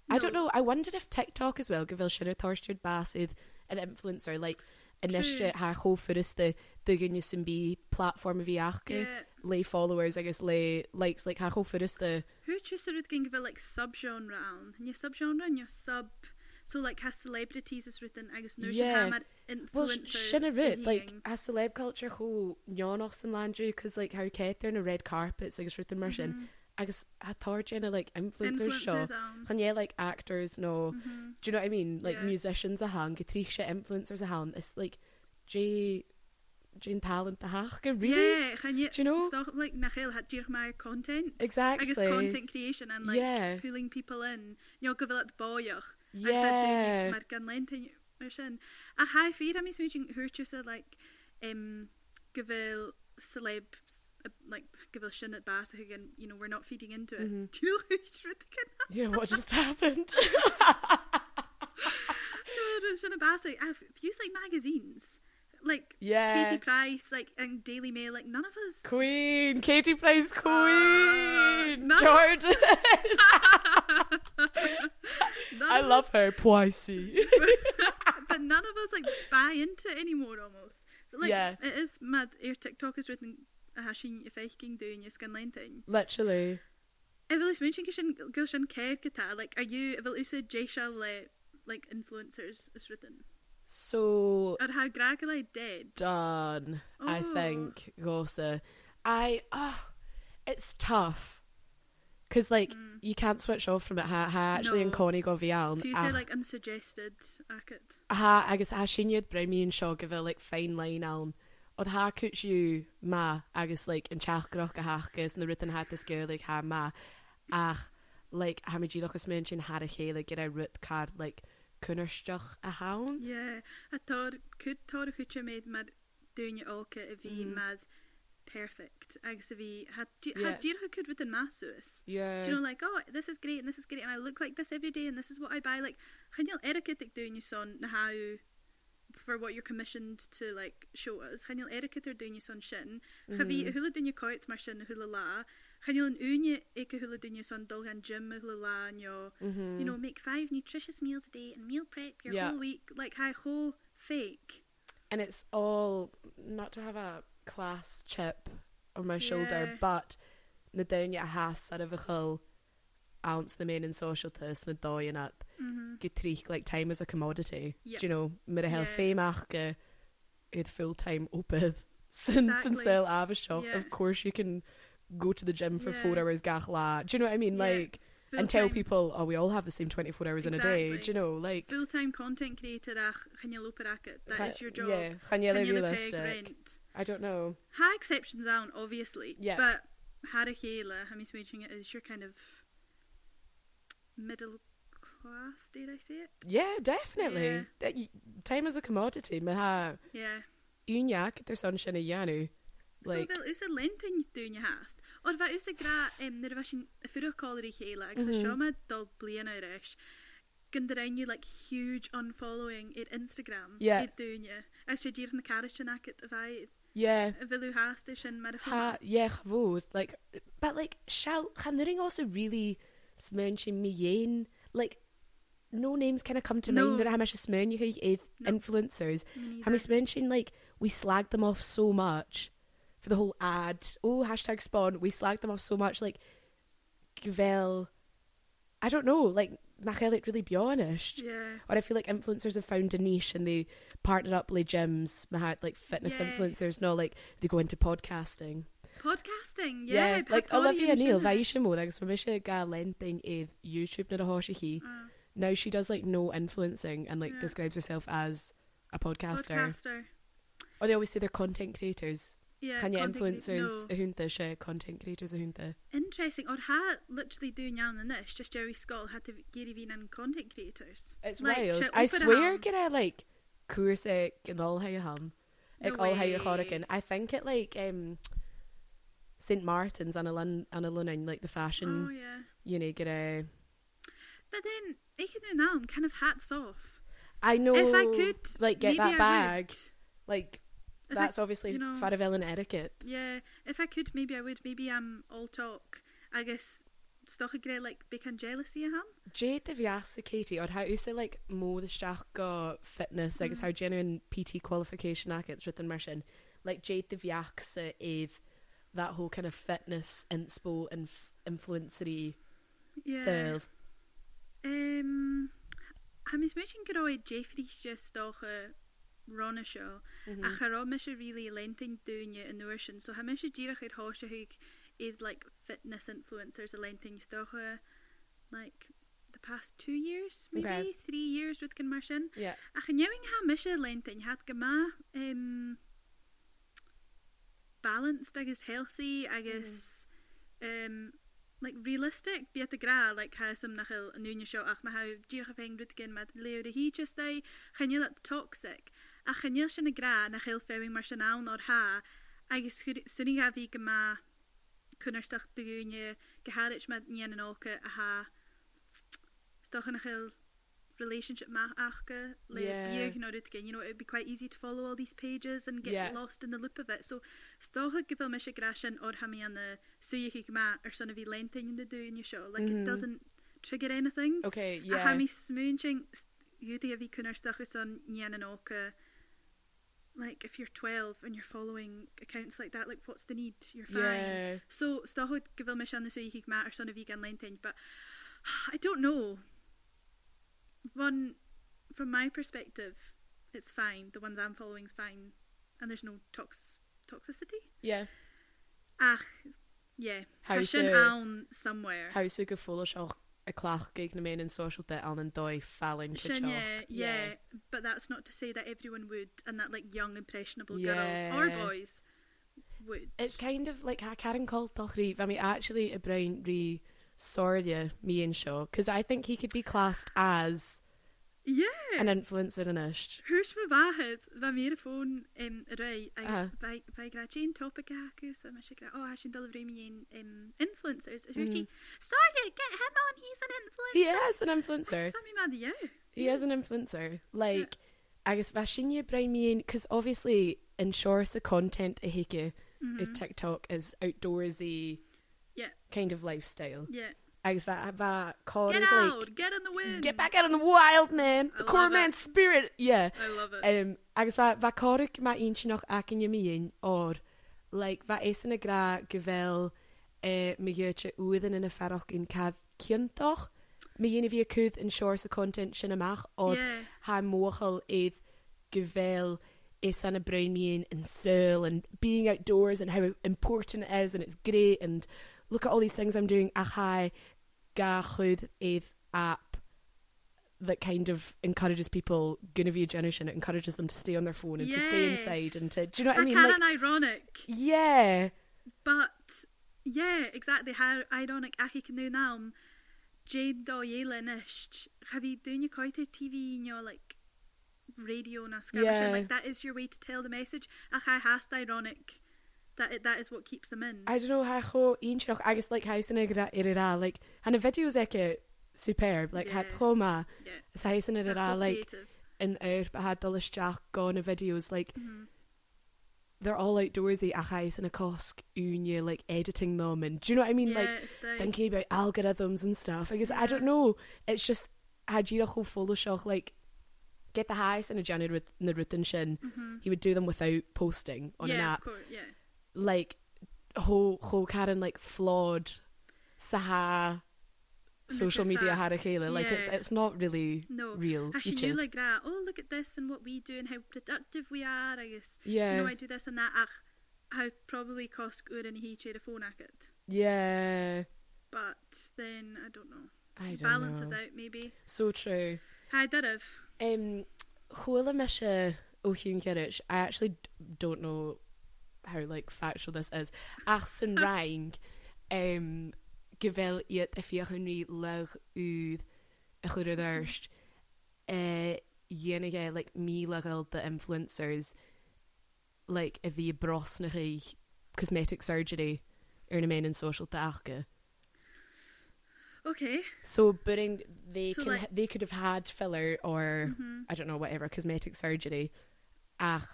[SPEAKER 1] no. I don't
[SPEAKER 2] No.
[SPEAKER 1] know I wondered if TikTok as well gyfil sinna thorstred basydd an influencer like an
[SPEAKER 2] True.
[SPEAKER 1] issue ha ho furus the the gynnys yn bi platform fi achgu
[SPEAKER 2] Yeah.
[SPEAKER 1] lay followers agus lay likes like ha go fu is the
[SPEAKER 2] Hurtje so it ging like subgenre aan. En je subgenre en je sub so like has celebrities is written agus nu
[SPEAKER 1] Yeah.
[SPEAKER 2] yeah.
[SPEAKER 1] well sin a rit like a celeb culture ho neonoch san landry because like how Kate in a red carpet agus written mar
[SPEAKER 2] Mm-hmm.
[SPEAKER 1] sin agus hatar in a like influencers show Can yeah like actors no do you know what I mean like
[SPEAKER 2] um, mm-hmm. Yeah.
[SPEAKER 1] musicians a hand getriche influencers a hand it's like J Jane talent a ha eh, really
[SPEAKER 2] Yeah, gaan je,
[SPEAKER 1] Do you know?
[SPEAKER 2] Toch, like nachel had je maar content. I guess
[SPEAKER 1] exactly
[SPEAKER 2] content creation and like
[SPEAKER 1] Yeah.
[SPEAKER 2] yeah. pulling people in. You know, give it like boyach.
[SPEAKER 1] yeah
[SPEAKER 2] mar gan leinte mar sin a ha fi am is méjin hurtje se like um gevil celebs uh, like gevil sin at bas again you know we're not feeding into it mm
[SPEAKER 1] Mhm.
[SPEAKER 2] -hmm. *laughs* do you know who's with the kid
[SPEAKER 1] *laughs* yeah what just
[SPEAKER 2] *laughs*
[SPEAKER 1] happened
[SPEAKER 2] sin at bas I've used like magazines like yeah.
[SPEAKER 1] yeah
[SPEAKER 2] Katie Price like and Daily Mail like none of us
[SPEAKER 1] Queen Katie plays Queen
[SPEAKER 2] Uh, no.
[SPEAKER 1] Jordan *laughs*
[SPEAKER 2] none *laughs*
[SPEAKER 1] I
[SPEAKER 2] of
[SPEAKER 1] love her Poissy
[SPEAKER 2] us, but none of us like buy into it anymore almost so like
[SPEAKER 1] Yeah.
[SPEAKER 2] it is mad your TikTok is written a ha sin if eich ging doing your skin leinte
[SPEAKER 1] *laughs* literally
[SPEAKER 2] Evelyn mentioned Gushin Gushin Ked Kata, like, are you Evelyn said Jaisha le like influencers is written?
[SPEAKER 1] so
[SPEAKER 2] Or how Gragalai dead?
[SPEAKER 1] done I
[SPEAKER 2] Oh.
[SPEAKER 1] think Gosa I oh it's tough because like
[SPEAKER 2] Mm.
[SPEAKER 1] you can't switch off from it ha, ha actually no. in
[SPEAKER 2] No.
[SPEAKER 1] Connie go vial
[SPEAKER 2] If you say like unsuggested, I could.
[SPEAKER 1] ha agus ha sin you'd bring me and Shaw give a like fine line on or ha could you ma agus like in chachgroch a hachgus and the written had this girl like ha ma ach like ha me gilochus mention had a he like get a root card like kunnerstoch a hound
[SPEAKER 2] Yeah, I thought could thought Hucha made mad doing your alka if he
[SPEAKER 1] Mhm.
[SPEAKER 2] mad perfect. Ags if he had
[SPEAKER 1] Yeah.
[SPEAKER 2] had Jira could within Masuus.
[SPEAKER 1] yeah
[SPEAKER 2] Do you know, like, oh, this is great and this is great, and I look like this every day, and this is what I buy. Like, can you etiquette doing you son how for what you're commissioned to like show us? Can you etiquette or doing you son shin? Have you
[SPEAKER 1] Mm.
[SPEAKER 2] hula doing your coit mar shin hula la? Can you unye eka hula doing you son dulgan gym hula la and your
[SPEAKER 1] mm-hmm.
[SPEAKER 2] you know make five nutritious meals a day and meal prep your
[SPEAKER 1] Yeah.
[SPEAKER 2] whole week like hi ho fake.
[SPEAKER 1] and it's all not to have a class chip on my yeah. shoulder
[SPEAKER 2] Yeah.
[SPEAKER 1] but na dain a has ar a bhil ounce the main in social thus na dóin at
[SPEAKER 2] Mm-hmm.
[SPEAKER 1] go trí like time is a commodity
[SPEAKER 2] Yeah.
[SPEAKER 1] do you know mar a hel
[SPEAKER 2] Yeah.
[SPEAKER 1] féimach go it full time opeth *laughs* since and
[SPEAKER 2] Exactly.
[SPEAKER 1] sell avish shop
[SPEAKER 2] Yeah.
[SPEAKER 1] of course you can go to the gym for yeah. four
[SPEAKER 2] Yeah.
[SPEAKER 1] hours gach la do you know what I mean
[SPEAKER 2] Yeah.
[SPEAKER 1] like and tell people oh we all have the same 24 hours in a day do
[SPEAKER 2] Exactly.
[SPEAKER 1] you know like
[SPEAKER 2] full time content creator ach can you loop
[SPEAKER 1] Cha-
[SPEAKER 2] that is your job.
[SPEAKER 1] yeah can you
[SPEAKER 2] Can you pay
[SPEAKER 1] realistic
[SPEAKER 2] rent?
[SPEAKER 1] I don't know
[SPEAKER 2] High exceptions out, obviously.
[SPEAKER 1] Yeah.
[SPEAKER 2] But Harahela, how he's waging it is your kind of middle class, did I say it?
[SPEAKER 1] Yeah, definitely.
[SPEAKER 2] Yeah.
[SPEAKER 1] Yeah. That, y- time is a commodity. Me ha
[SPEAKER 2] Yeah.
[SPEAKER 1] uniac their son sin a yanu. Like
[SPEAKER 2] so fel yw sy'n lentyn dwi'n yw hast. O'r fa yw sy'n gra, um, nid yw sy'n ffyrwch colir i Heila, ac sy'n
[SPEAKER 1] Mhm.
[SPEAKER 2] sioma dol blian o'r eich. Gyndarain yw like huge unfollowing i'r Instagram.
[SPEAKER 1] Yeah.
[SPEAKER 2] I'r dwi'n yw. A sy'n gyr yn y carach yn ac y fai,
[SPEAKER 1] yeah,
[SPEAKER 2] y fel yw hast yw sy'n marach.
[SPEAKER 1] ha yeah chvod. Like but like shall Hanring also really smenching me yin. Like no names kind of come to
[SPEAKER 2] No.
[SPEAKER 1] no. mind that how much smen you have
[SPEAKER 2] No.
[SPEAKER 1] influencers. How much mentioning like we slag them off so much for the whole ad. Oh hashtag spawn. We slag them off so much like Gvel. I don't know. Like Nachelit really beyondish.
[SPEAKER 2] Yeah.
[SPEAKER 1] Or I feel like influencers have found a niche and they partner up like gyms, ma had like fitness
[SPEAKER 2] Yes.
[SPEAKER 1] influencers. No, like they go into podcasting.
[SPEAKER 2] Podcasting, yeah.
[SPEAKER 1] like
[SPEAKER 2] Pepper
[SPEAKER 1] Olivia
[SPEAKER 2] and
[SPEAKER 1] Neal,
[SPEAKER 2] Shinna.
[SPEAKER 1] Vaisha Mo, thanks for Misha Galenting is YouTube not a hoshi.
[SPEAKER 2] Oh.
[SPEAKER 1] Now she does like no influencing and like
[SPEAKER 2] Yeah.
[SPEAKER 1] describes herself as a podcaster.
[SPEAKER 2] podcaster.
[SPEAKER 1] Or they always say they're content creators.
[SPEAKER 2] Yeah,
[SPEAKER 1] Can you
[SPEAKER 2] content creator-
[SPEAKER 1] influencers
[SPEAKER 2] No.
[SPEAKER 1] a hunta she content creators a hunta?
[SPEAKER 2] Interesting. Or ha literally doing yarn and this, just Jerry Skull had to Gary Veen and content creators.
[SPEAKER 1] It's
[SPEAKER 2] Like,
[SPEAKER 1] wild.
[SPEAKER 2] shit,
[SPEAKER 1] I
[SPEAKER 2] open
[SPEAKER 1] swear
[SPEAKER 2] hand.
[SPEAKER 1] get I like Kursek and all how you hum. Like all how you
[SPEAKER 2] way.
[SPEAKER 1] hurricane. I think it like um St. Martin's on a Lon- on a Lunin, like the
[SPEAKER 2] Oh
[SPEAKER 1] fashion
[SPEAKER 2] yeah.
[SPEAKER 1] you know, get a
[SPEAKER 2] But then I can do now. I'm kind of hats off.
[SPEAKER 1] I know
[SPEAKER 2] if I could,
[SPEAKER 1] like get
[SPEAKER 2] maybe
[SPEAKER 1] that
[SPEAKER 2] I
[SPEAKER 1] bag.
[SPEAKER 2] Would.
[SPEAKER 1] Like
[SPEAKER 2] If
[SPEAKER 1] that's obviously
[SPEAKER 2] you know-
[SPEAKER 1] Faravel and etiquette.
[SPEAKER 2] Yeah, if I could, maybe I would. Maybe I'm all talk. I guess stock a grey like bacon jealousy. I am.
[SPEAKER 1] Jade the Vyasa Katie or how you say like Mo the Shaka fitness, like it's
[SPEAKER 2] Mm.
[SPEAKER 1] how genuine PT qualification I gets written immersion. Like Jade the Vyaksa Eve that whole kind of fitness inspo and influencery
[SPEAKER 2] Yeah.
[SPEAKER 1] self.
[SPEAKER 2] Um, ha mis mé sin gorá Jeffreyse stocha runna seo a chará me se ri lenting dúine in nuair sin, so ha me se ddíach ir háise hiig iad like fitness influencers a lenting stocha like the past two years, maybe
[SPEAKER 1] Okay.
[SPEAKER 2] okay. three years with gan mar sin.
[SPEAKER 1] Yeah.
[SPEAKER 2] A chanéing ha me se lenting hat go ma um, balanced agus healthy agus mm. um, like realistic be a gra like ha som nachil a nunne seo ach ma ha diecha féin rutgin mat leo a hí just dai chanil dat toxic a chanil sin a gra nach heel féing mar sin an or ha agus sunnig a vi ma kunnnerstach deúne geharit met niean an óke a ha stoch nach heel relationship ma achke le
[SPEAKER 1] Yeah.
[SPEAKER 2] yeah. no rutgin you know it'd be quite easy to follow all these pages and get
[SPEAKER 1] Yeah.
[SPEAKER 2] yeah. lost in the loop of it so stocha gofil me se grasin or ha mi an na suúichi ma ar sanna bhí lenting in de dúine seo like mm -hmm.
[SPEAKER 1] Mhm.
[SPEAKER 2] it doesn't trigger anything
[SPEAKER 1] Okay.
[SPEAKER 2] a ha
[SPEAKER 1] Yeah.
[SPEAKER 2] mi smooning úti a bhí kunnar stachu san nían an óca like if you're 12 and you're following accounts like that like what's the need you're fine yeah.
[SPEAKER 1] Yeah.
[SPEAKER 2] so stocha gofil me se an na suúichi ma ar sanna bhí gan lenting but I don't know one from my perspective it's fine the ones I'm following's fine and there's no tox toxicity
[SPEAKER 1] Yeah.
[SPEAKER 2] Ach, yeah.
[SPEAKER 1] How
[SPEAKER 2] How
[SPEAKER 1] so-
[SPEAKER 2] should own somewhere?
[SPEAKER 1] How so go full of a clach gig na main in social that an and doi falling to
[SPEAKER 2] Shouldn't you? yeah, but that's not to say that everyone would, and that like young impressionable girls or
[SPEAKER 1] Yeah.
[SPEAKER 2] boys would.
[SPEAKER 1] It's kind of like how Karen called Dochry. I mean, actually, a Brown re Sordia, me and Shaw, because I think he could be classed as
[SPEAKER 2] yeah.
[SPEAKER 1] an influencer in ish.
[SPEAKER 2] Hús me bhahead bha mé a fón um, a ré
[SPEAKER 1] Ah.
[SPEAKER 2] agus bha gra sin topic a acu so me si gra ó sin dul réimion um, influencers a hútí sorry get him on he's an influencer
[SPEAKER 1] Mhm. He is an influencer.
[SPEAKER 2] mi mad you
[SPEAKER 1] He is an influencer. Like, agus fashinya braimian, because obviously ensures the content a hike a
[SPEAKER 2] Mm-hmm.
[SPEAKER 1] TikTok is outdoorsy
[SPEAKER 2] yeah
[SPEAKER 1] kind of lifestyle.
[SPEAKER 2] yeah
[SPEAKER 1] Agus va va
[SPEAKER 2] get
[SPEAKER 1] like Mm,
[SPEAKER 2] out get in the wind
[SPEAKER 1] get back out in the wild man,
[SPEAKER 2] I
[SPEAKER 1] the
[SPEAKER 2] love
[SPEAKER 1] core
[SPEAKER 2] it.
[SPEAKER 1] man spirit. Yeah.
[SPEAKER 2] I love it
[SPEAKER 1] Um, agus va va corrig ma inch noch ac yn ymwyn o'r like va esyn y gra gyfel uh, mi gyrch ywydden yn y fferoch yn caf cyntoch mi un i fi y cwth yn siwr sy content sy'n ymach o'r
[SPEAKER 2] Ie.
[SPEAKER 1] ha mwochel edd gyfel esyn y brain mi yn yn syl and being outdoors and how important it is and it's great and look at all these things I'm doing a chai ga chwyd edd app that kind of encourages people going to be a generation it encourages them to stay on their phone and to stay inside and to do you know what I
[SPEAKER 2] They're
[SPEAKER 1] mean
[SPEAKER 2] kind
[SPEAKER 1] like
[SPEAKER 2] of ironic
[SPEAKER 1] yeah
[SPEAKER 2] But yeah, exactly how ironic ach ik nu naam um, Jade do jelen is. Have you done your coiter TV in your like radio and
[SPEAKER 1] Yeah.
[SPEAKER 2] yeah. like that is your way to tell the message. Ach I hast ironic that it, that is what keeps them in.
[SPEAKER 1] I don't know how go inch agus like how sin gra irira like and the videos like superb like had
[SPEAKER 2] Yeah.
[SPEAKER 1] homa
[SPEAKER 2] yeah,
[SPEAKER 1] is how sin
[SPEAKER 2] that's
[SPEAKER 1] irira
[SPEAKER 2] so
[SPEAKER 1] like
[SPEAKER 2] creative.
[SPEAKER 1] in our but had the jack gone the videos like
[SPEAKER 2] Mm-hmm.
[SPEAKER 1] they're all outdoorsy a how sin a cosk unia like editing them and do you know what I mean
[SPEAKER 2] yeah,
[SPEAKER 1] like
[SPEAKER 2] it's the,
[SPEAKER 1] thinking about algorithms and stuff. I guess I don't know. It's just had you a whole follow shock like get the highest in a Janet with Naruthan Shin. He would do them without posting on
[SPEAKER 2] Mm-hmm. yeah,
[SPEAKER 1] an
[SPEAKER 2] Of
[SPEAKER 1] app.
[SPEAKER 2] course, yeah,
[SPEAKER 1] Like whole whole Karen like flawed Saha social
[SPEAKER 2] Look at
[SPEAKER 1] media
[SPEAKER 2] that.
[SPEAKER 1] harakela. Like it's
[SPEAKER 2] Yeah.
[SPEAKER 1] it's not really
[SPEAKER 2] no,
[SPEAKER 1] real.
[SPEAKER 2] Actually,
[SPEAKER 1] YouTube.
[SPEAKER 2] you like that. Oh, look at this and what we do and how productive we are. I guess.
[SPEAKER 1] yeah.
[SPEAKER 2] You know, I do this and that. Ach, how probably cost good and he cheer a phone at it.
[SPEAKER 1] yeah.
[SPEAKER 2] but then I don't know.
[SPEAKER 1] I don't
[SPEAKER 2] Balances
[SPEAKER 1] know.
[SPEAKER 2] out maybe.
[SPEAKER 1] So true.
[SPEAKER 2] I did have.
[SPEAKER 1] Um, Huala Misha O'Hune Kirich, I actually d- don't know how like factual this is. Achsen Rang, um, gevel iet if je nu lag u goede durst. Uh, jenige like me legal the influencers like if je brosnige cosmetic surgery er een main in social taken.
[SPEAKER 2] Okay.
[SPEAKER 1] So, but in, they
[SPEAKER 2] So,
[SPEAKER 1] can
[SPEAKER 2] like- Mm-hmm.
[SPEAKER 1] they could have had filler or I don't know whatever cosmetic surgery. Ach,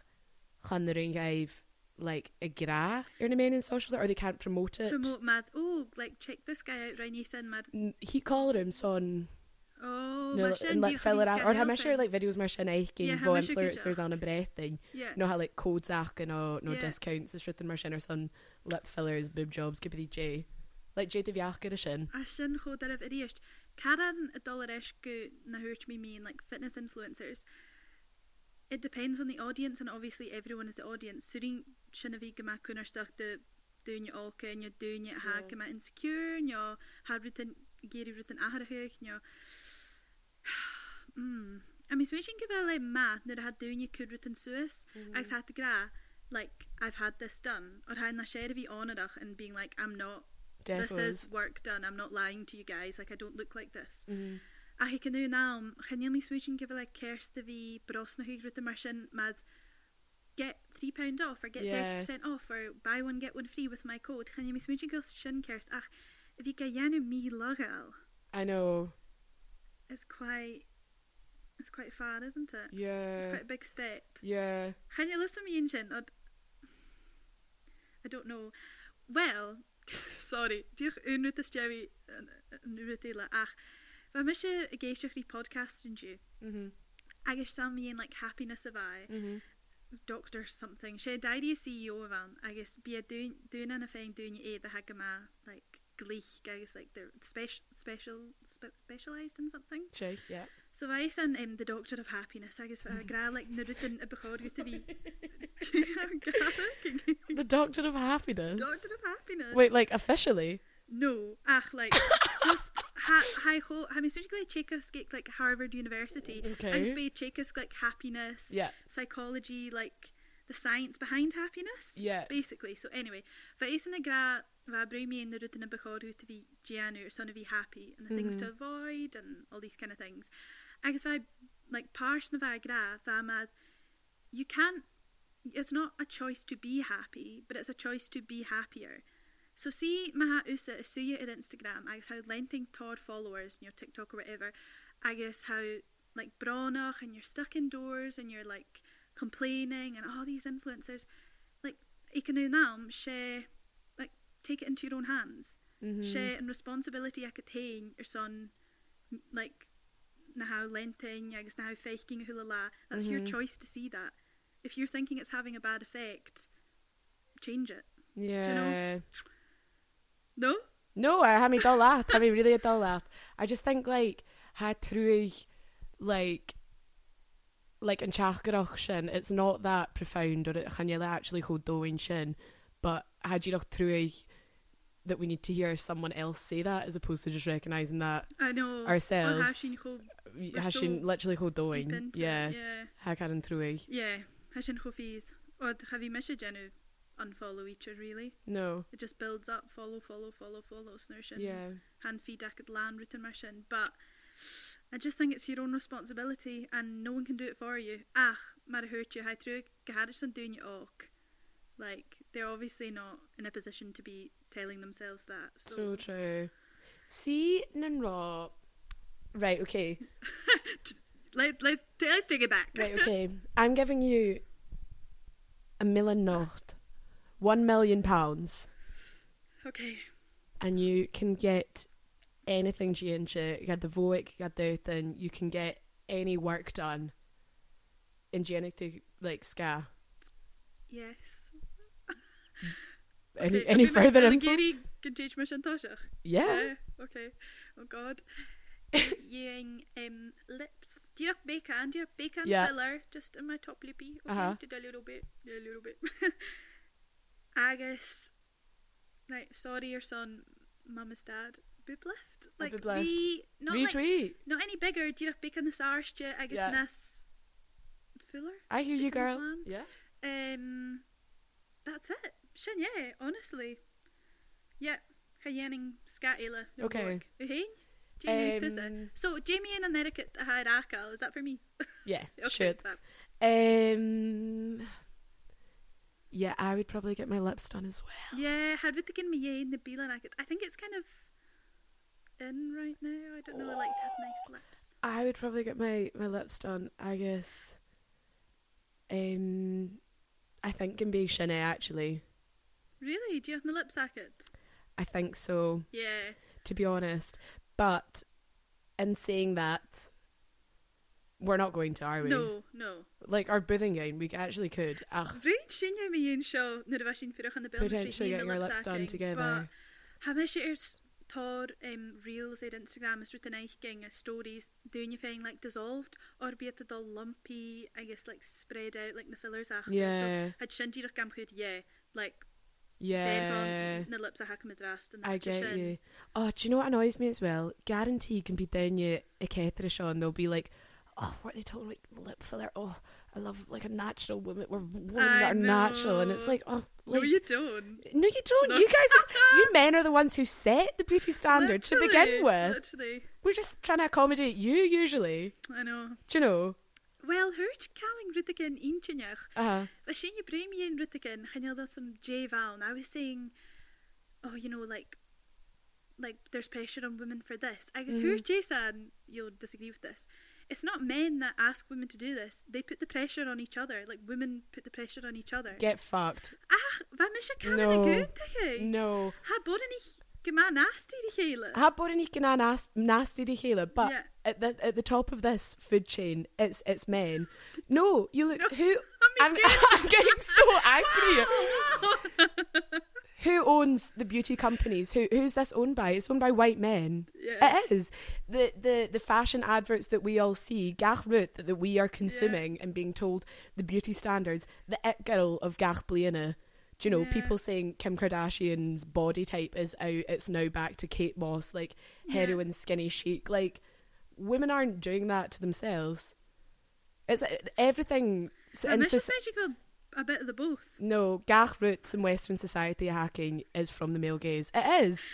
[SPEAKER 1] can the ring give like a gra in a main in socials or they can't promote it.
[SPEAKER 2] Promote mad. Oh, like check this guy out, Ryan Eason mad.
[SPEAKER 1] N- He called him son
[SPEAKER 2] Oh,
[SPEAKER 1] No,
[SPEAKER 2] mar
[SPEAKER 1] like-
[SPEAKER 2] sin
[SPEAKER 1] and like
[SPEAKER 2] díolch
[SPEAKER 1] fill it
[SPEAKER 2] go
[SPEAKER 1] out. Or how
[SPEAKER 2] gael
[SPEAKER 1] much are
[SPEAKER 2] then.
[SPEAKER 1] like videos mar sin
[SPEAKER 2] Yeah,
[SPEAKER 1] eichgin
[SPEAKER 2] how
[SPEAKER 1] vo
[SPEAKER 2] much you could
[SPEAKER 1] influencers
[SPEAKER 2] do.
[SPEAKER 1] on a breath thing.
[SPEAKER 2] Yeah.
[SPEAKER 1] No how like codes ach and no no
[SPEAKER 2] Yeah.
[SPEAKER 1] discounts is written mar sin or son lip fillers, boob jobs, give it J. Like J the Vyach get a shin.
[SPEAKER 2] Ar sin chó ar a bhríist. Caran a dollaris go na hurtt me mean like fitness influencers. It depends on the audience and obviously everyone is the audience. Surin sinna bhí go maún ar stuach de dúine áca ne dúine ha go insecure ne Harrutin géirí rutin aththech ne. *sighs* Mm. I mean, switching give like math that I had doing you could written Suis, I just had to gra like I've had this done or had na share of honorach and being like I'm not this
[SPEAKER 1] Defos.
[SPEAKER 2] is work done I'm not lying to you guys like I don't look like this
[SPEAKER 1] Mhm.
[SPEAKER 2] a hi can do now chanmi switching give like kerste vi bros na hygruta mar sin mad get three pound off or get
[SPEAKER 1] Yeah.
[SPEAKER 2] thirty percent off or buy one get one free with my code chanmi switching go sin kerst ach if you get yanu mi logal
[SPEAKER 1] I know.
[SPEAKER 2] it's quite it's quite far isn't it it's
[SPEAKER 1] Yeah.
[SPEAKER 2] quite a big step
[SPEAKER 1] Yeah.
[SPEAKER 2] Can you listen to me ancient? I'd... I don't know. Well, *laughs* sorry. Dúch un with this Jerry nu le ach. Fa mis se a géisiach í podcast in dú.
[SPEAKER 1] Mhm.
[SPEAKER 2] agus sam íon like happiness a bhai,
[SPEAKER 1] Mhm.
[SPEAKER 2] doctor something. sé dairí a CEO a bhan agus bí a dún an a féin dún é a ha go ma like glích agus like they're special special spe- specialized in something.
[SPEAKER 1] J. Yeah.
[SPEAKER 2] So I san um, the Doctor of Happiness agus fe gra like na rutin a bechod go *laughs* fi.
[SPEAKER 1] *laughs* The Doctor of Happiness.
[SPEAKER 2] Doctor of Happiness.
[SPEAKER 1] Wait, like officially?
[SPEAKER 2] no, ach like
[SPEAKER 1] *laughs*
[SPEAKER 2] just ha hi ho. I mean, specifically Chekhov's like, like Harvard University. I just
[SPEAKER 1] Okay.
[SPEAKER 2] be Chekhov's like happiness,
[SPEAKER 1] Yeah.
[SPEAKER 2] psychology, like the science behind happiness.
[SPEAKER 1] Yeah.
[SPEAKER 2] Basically, so anyway, but isn't a gra vabrumi in the rutin of bechodu to be Gianu or son of be happy and the things to avoid and all these kind of things. I guess I like pars na va gra va mad you can't it's not a choice to be happy, but it's a choice to be happier. So see Maha Usa Asuya at Instagram, I guess how lenting Todd followers in your TikTok or whatever, I guess how like Bronach and you're stuck indoors and you're like complaining and all these influencers like Ikanunam she um, like take it into your own hands.
[SPEAKER 1] Mm.
[SPEAKER 2] Mm-hmm. She and responsibility I could tain your son m- like na how lenting agus na how faking hula la that's mm-hmm. your choice to see that. If you're thinking it's having a bad effect, change it.
[SPEAKER 1] Yeah.
[SPEAKER 2] know? No?
[SPEAKER 1] No, I haven't done that. I mean, really, done that. I just think like how true, like, like in Chachgarach sin, it's not that profound, or it can you actually hold doing shin, but how do you know through that we need to hear someone else say that as opposed to just recognizing that
[SPEAKER 2] I know. Or how
[SPEAKER 1] Ourselves.
[SPEAKER 2] she go
[SPEAKER 1] how she
[SPEAKER 2] so
[SPEAKER 1] literally hold
[SPEAKER 2] deep
[SPEAKER 1] doing,
[SPEAKER 2] into
[SPEAKER 1] yeah,
[SPEAKER 2] It. Yeah.
[SPEAKER 1] how can eh? through
[SPEAKER 2] Yeah. How she go feed. Or have you missed Jenny unfollow each other really?
[SPEAKER 1] no,
[SPEAKER 2] It just builds up, follow, follow, follow, follow, snursion.
[SPEAKER 1] yeah,
[SPEAKER 2] hand feed I could land written mission but I just think it's your own responsibility and no one can do it for you ach mar hurt you through garrison doing you ok like they're obviously not in a position to be telling themselves that
[SPEAKER 1] so
[SPEAKER 2] so,
[SPEAKER 1] true. See, Nimrod. Right, okay.
[SPEAKER 2] let's let's t- let's take it back
[SPEAKER 1] Right, okay. I'm giving you a million not, one million pounds,
[SPEAKER 2] *laughs* okay
[SPEAKER 1] and you can get anything GNC. You got the Voic, you got the thing, you can get any work done in GNC, like SCA.
[SPEAKER 2] yes
[SPEAKER 1] Any,
[SPEAKER 2] okay.
[SPEAKER 1] any
[SPEAKER 2] Have we met
[SPEAKER 1] further
[SPEAKER 2] Anna
[SPEAKER 1] info?
[SPEAKER 2] Geary? Good judge, Mission Toshach.
[SPEAKER 1] Yeah.
[SPEAKER 2] Yeah, okay. Oh god. Using um lips. Do you have bacon? Do you have bacon
[SPEAKER 1] Yeah.
[SPEAKER 2] yeah. filler just in my top lippy? Okay,
[SPEAKER 1] Uh-huh.
[SPEAKER 2] uh-huh. did a little bit, did a little bit. *laughs* I guess. Right, sorry, your son, mum, is dad. Boob lift. Like
[SPEAKER 1] boob lift.
[SPEAKER 2] we not like,
[SPEAKER 1] Retweet.
[SPEAKER 2] not any bigger. Do you have bacon this arse? I guess
[SPEAKER 1] Yeah.
[SPEAKER 2] yeah. this. Fuller.
[SPEAKER 1] I hear you,
[SPEAKER 2] Big
[SPEAKER 1] girl.
[SPEAKER 2] Muslim.
[SPEAKER 1] Yeah.
[SPEAKER 2] Um, that's it. Shin, yeah, honestly. Yeah, Hayening Skatila.
[SPEAKER 1] Okay.
[SPEAKER 2] Uhain? Jamie, this
[SPEAKER 1] Um,
[SPEAKER 2] it. So, Jamie and America Harakal, is that for me?
[SPEAKER 1] Yeah.
[SPEAKER 2] Okay,
[SPEAKER 1] Shit.
[SPEAKER 2] fab.
[SPEAKER 1] Um. Yeah, I would probably get my lips done as well.
[SPEAKER 2] Yeah, Harvitigan Miye and Nabila and I think it's kind of in right now. I don't know, I like to have nice lips.
[SPEAKER 1] I would probably get my my lips done. I guess. Um, I think can be Shanae actually.
[SPEAKER 2] Really? Do you have my lip socket?
[SPEAKER 1] I think so.
[SPEAKER 2] Yeah.
[SPEAKER 1] To be honest, but in saying that, we're not going to, are we?
[SPEAKER 2] No, no.
[SPEAKER 1] Like our bidding game, we actually could. Ach,
[SPEAKER 2] Rhaid sin i mi un sio, nid efo sin ffyrwch yn y building
[SPEAKER 1] Potentially getting our lips done together.
[SPEAKER 2] Ha me eisiau i'r tor um, reels ar Instagram ys rwy'n eich gyng a stories dwi'n i fein like dissolved o'r byd ydol lumpy I guess like spread out like the fillers ach
[SPEAKER 1] Yeah.
[SPEAKER 2] so had sin dirach gam chwyd yeah like
[SPEAKER 1] yeah.
[SPEAKER 2] yeah. na lips a hack yn y drast yn
[SPEAKER 1] I get you. Oh, do you know what annoys me as well? Guarantee you can be down you a Ketra Sean. They'll be like, oh, what are they talking like lip filler? Oh, I love like a natural woman. We're women that
[SPEAKER 2] I
[SPEAKER 1] are natural, and it's
[SPEAKER 2] know.
[SPEAKER 1] like, oh,
[SPEAKER 2] no
[SPEAKER 1] like,
[SPEAKER 2] you don't
[SPEAKER 1] no, you don't.
[SPEAKER 2] No.
[SPEAKER 1] You guys,
[SPEAKER 2] *laughs*
[SPEAKER 1] you men are the ones who set the beauty standard to begin
[SPEAKER 2] Literally,
[SPEAKER 1] with.
[SPEAKER 2] literally
[SPEAKER 1] We're just trying to accommodate you usually.
[SPEAKER 2] I know
[SPEAKER 1] Do you know?
[SPEAKER 2] Wel, hwrt caling rydych yn un chynach
[SPEAKER 1] Uh huh.
[SPEAKER 2] But she you bring me in Rutigan, Hanilda some J Val, and I was saying, oh, you know, like, like there's pressure on women for this. I guess who's
[SPEAKER 1] Mm-hmm.
[SPEAKER 2] Jason? You'll disagree with this. It's not men that ask women to do this. They put the pressure on each other. Like women put the pressure on each other. Ah,
[SPEAKER 1] Get fucked.
[SPEAKER 2] Ach, van is je kan
[SPEAKER 1] No. Mm.
[SPEAKER 2] een goed tegen.
[SPEAKER 1] No.
[SPEAKER 2] Ha bodden ik gema nasty die hele. *laughs*
[SPEAKER 1] Had Boronique and nas- nasty to Kayla, but
[SPEAKER 2] Yeah.
[SPEAKER 1] at, the, at the top of this food chain, it's it's men. No, you look who.
[SPEAKER 2] I'm
[SPEAKER 1] I'm, *laughs* I'm getting so
[SPEAKER 2] *laughs*
[SPEAKER 1] angry. who owns the beauty companies? Who who's this owned by? It's owned by white men.
[SPEAKER 2] Yeah.
[SPEAKER 1] It is the the the fashion adverts that we all see, Gach Root that, that we are consuming and being told the beauty standards. The it girl of Gach Bliana. Do you know
[SPEAKER 2] Yeah.
[SPEAKER 1] people saying Kim Kardashian's body type is out? It's now back to Kate Moss, like heroin skinny chic. Like women aren't doing that to themselves. It's uh, everything s-
[SPEAKER 2] I'm
[SPEAKER 1] in
[SPEAKER 2] just
[SPEAKER 1] society.
[SPEAKER 2] magical. A bit of the both.
[SPEAKER 1] No, Gach roots in Western society hacking is from the male gaze. It is.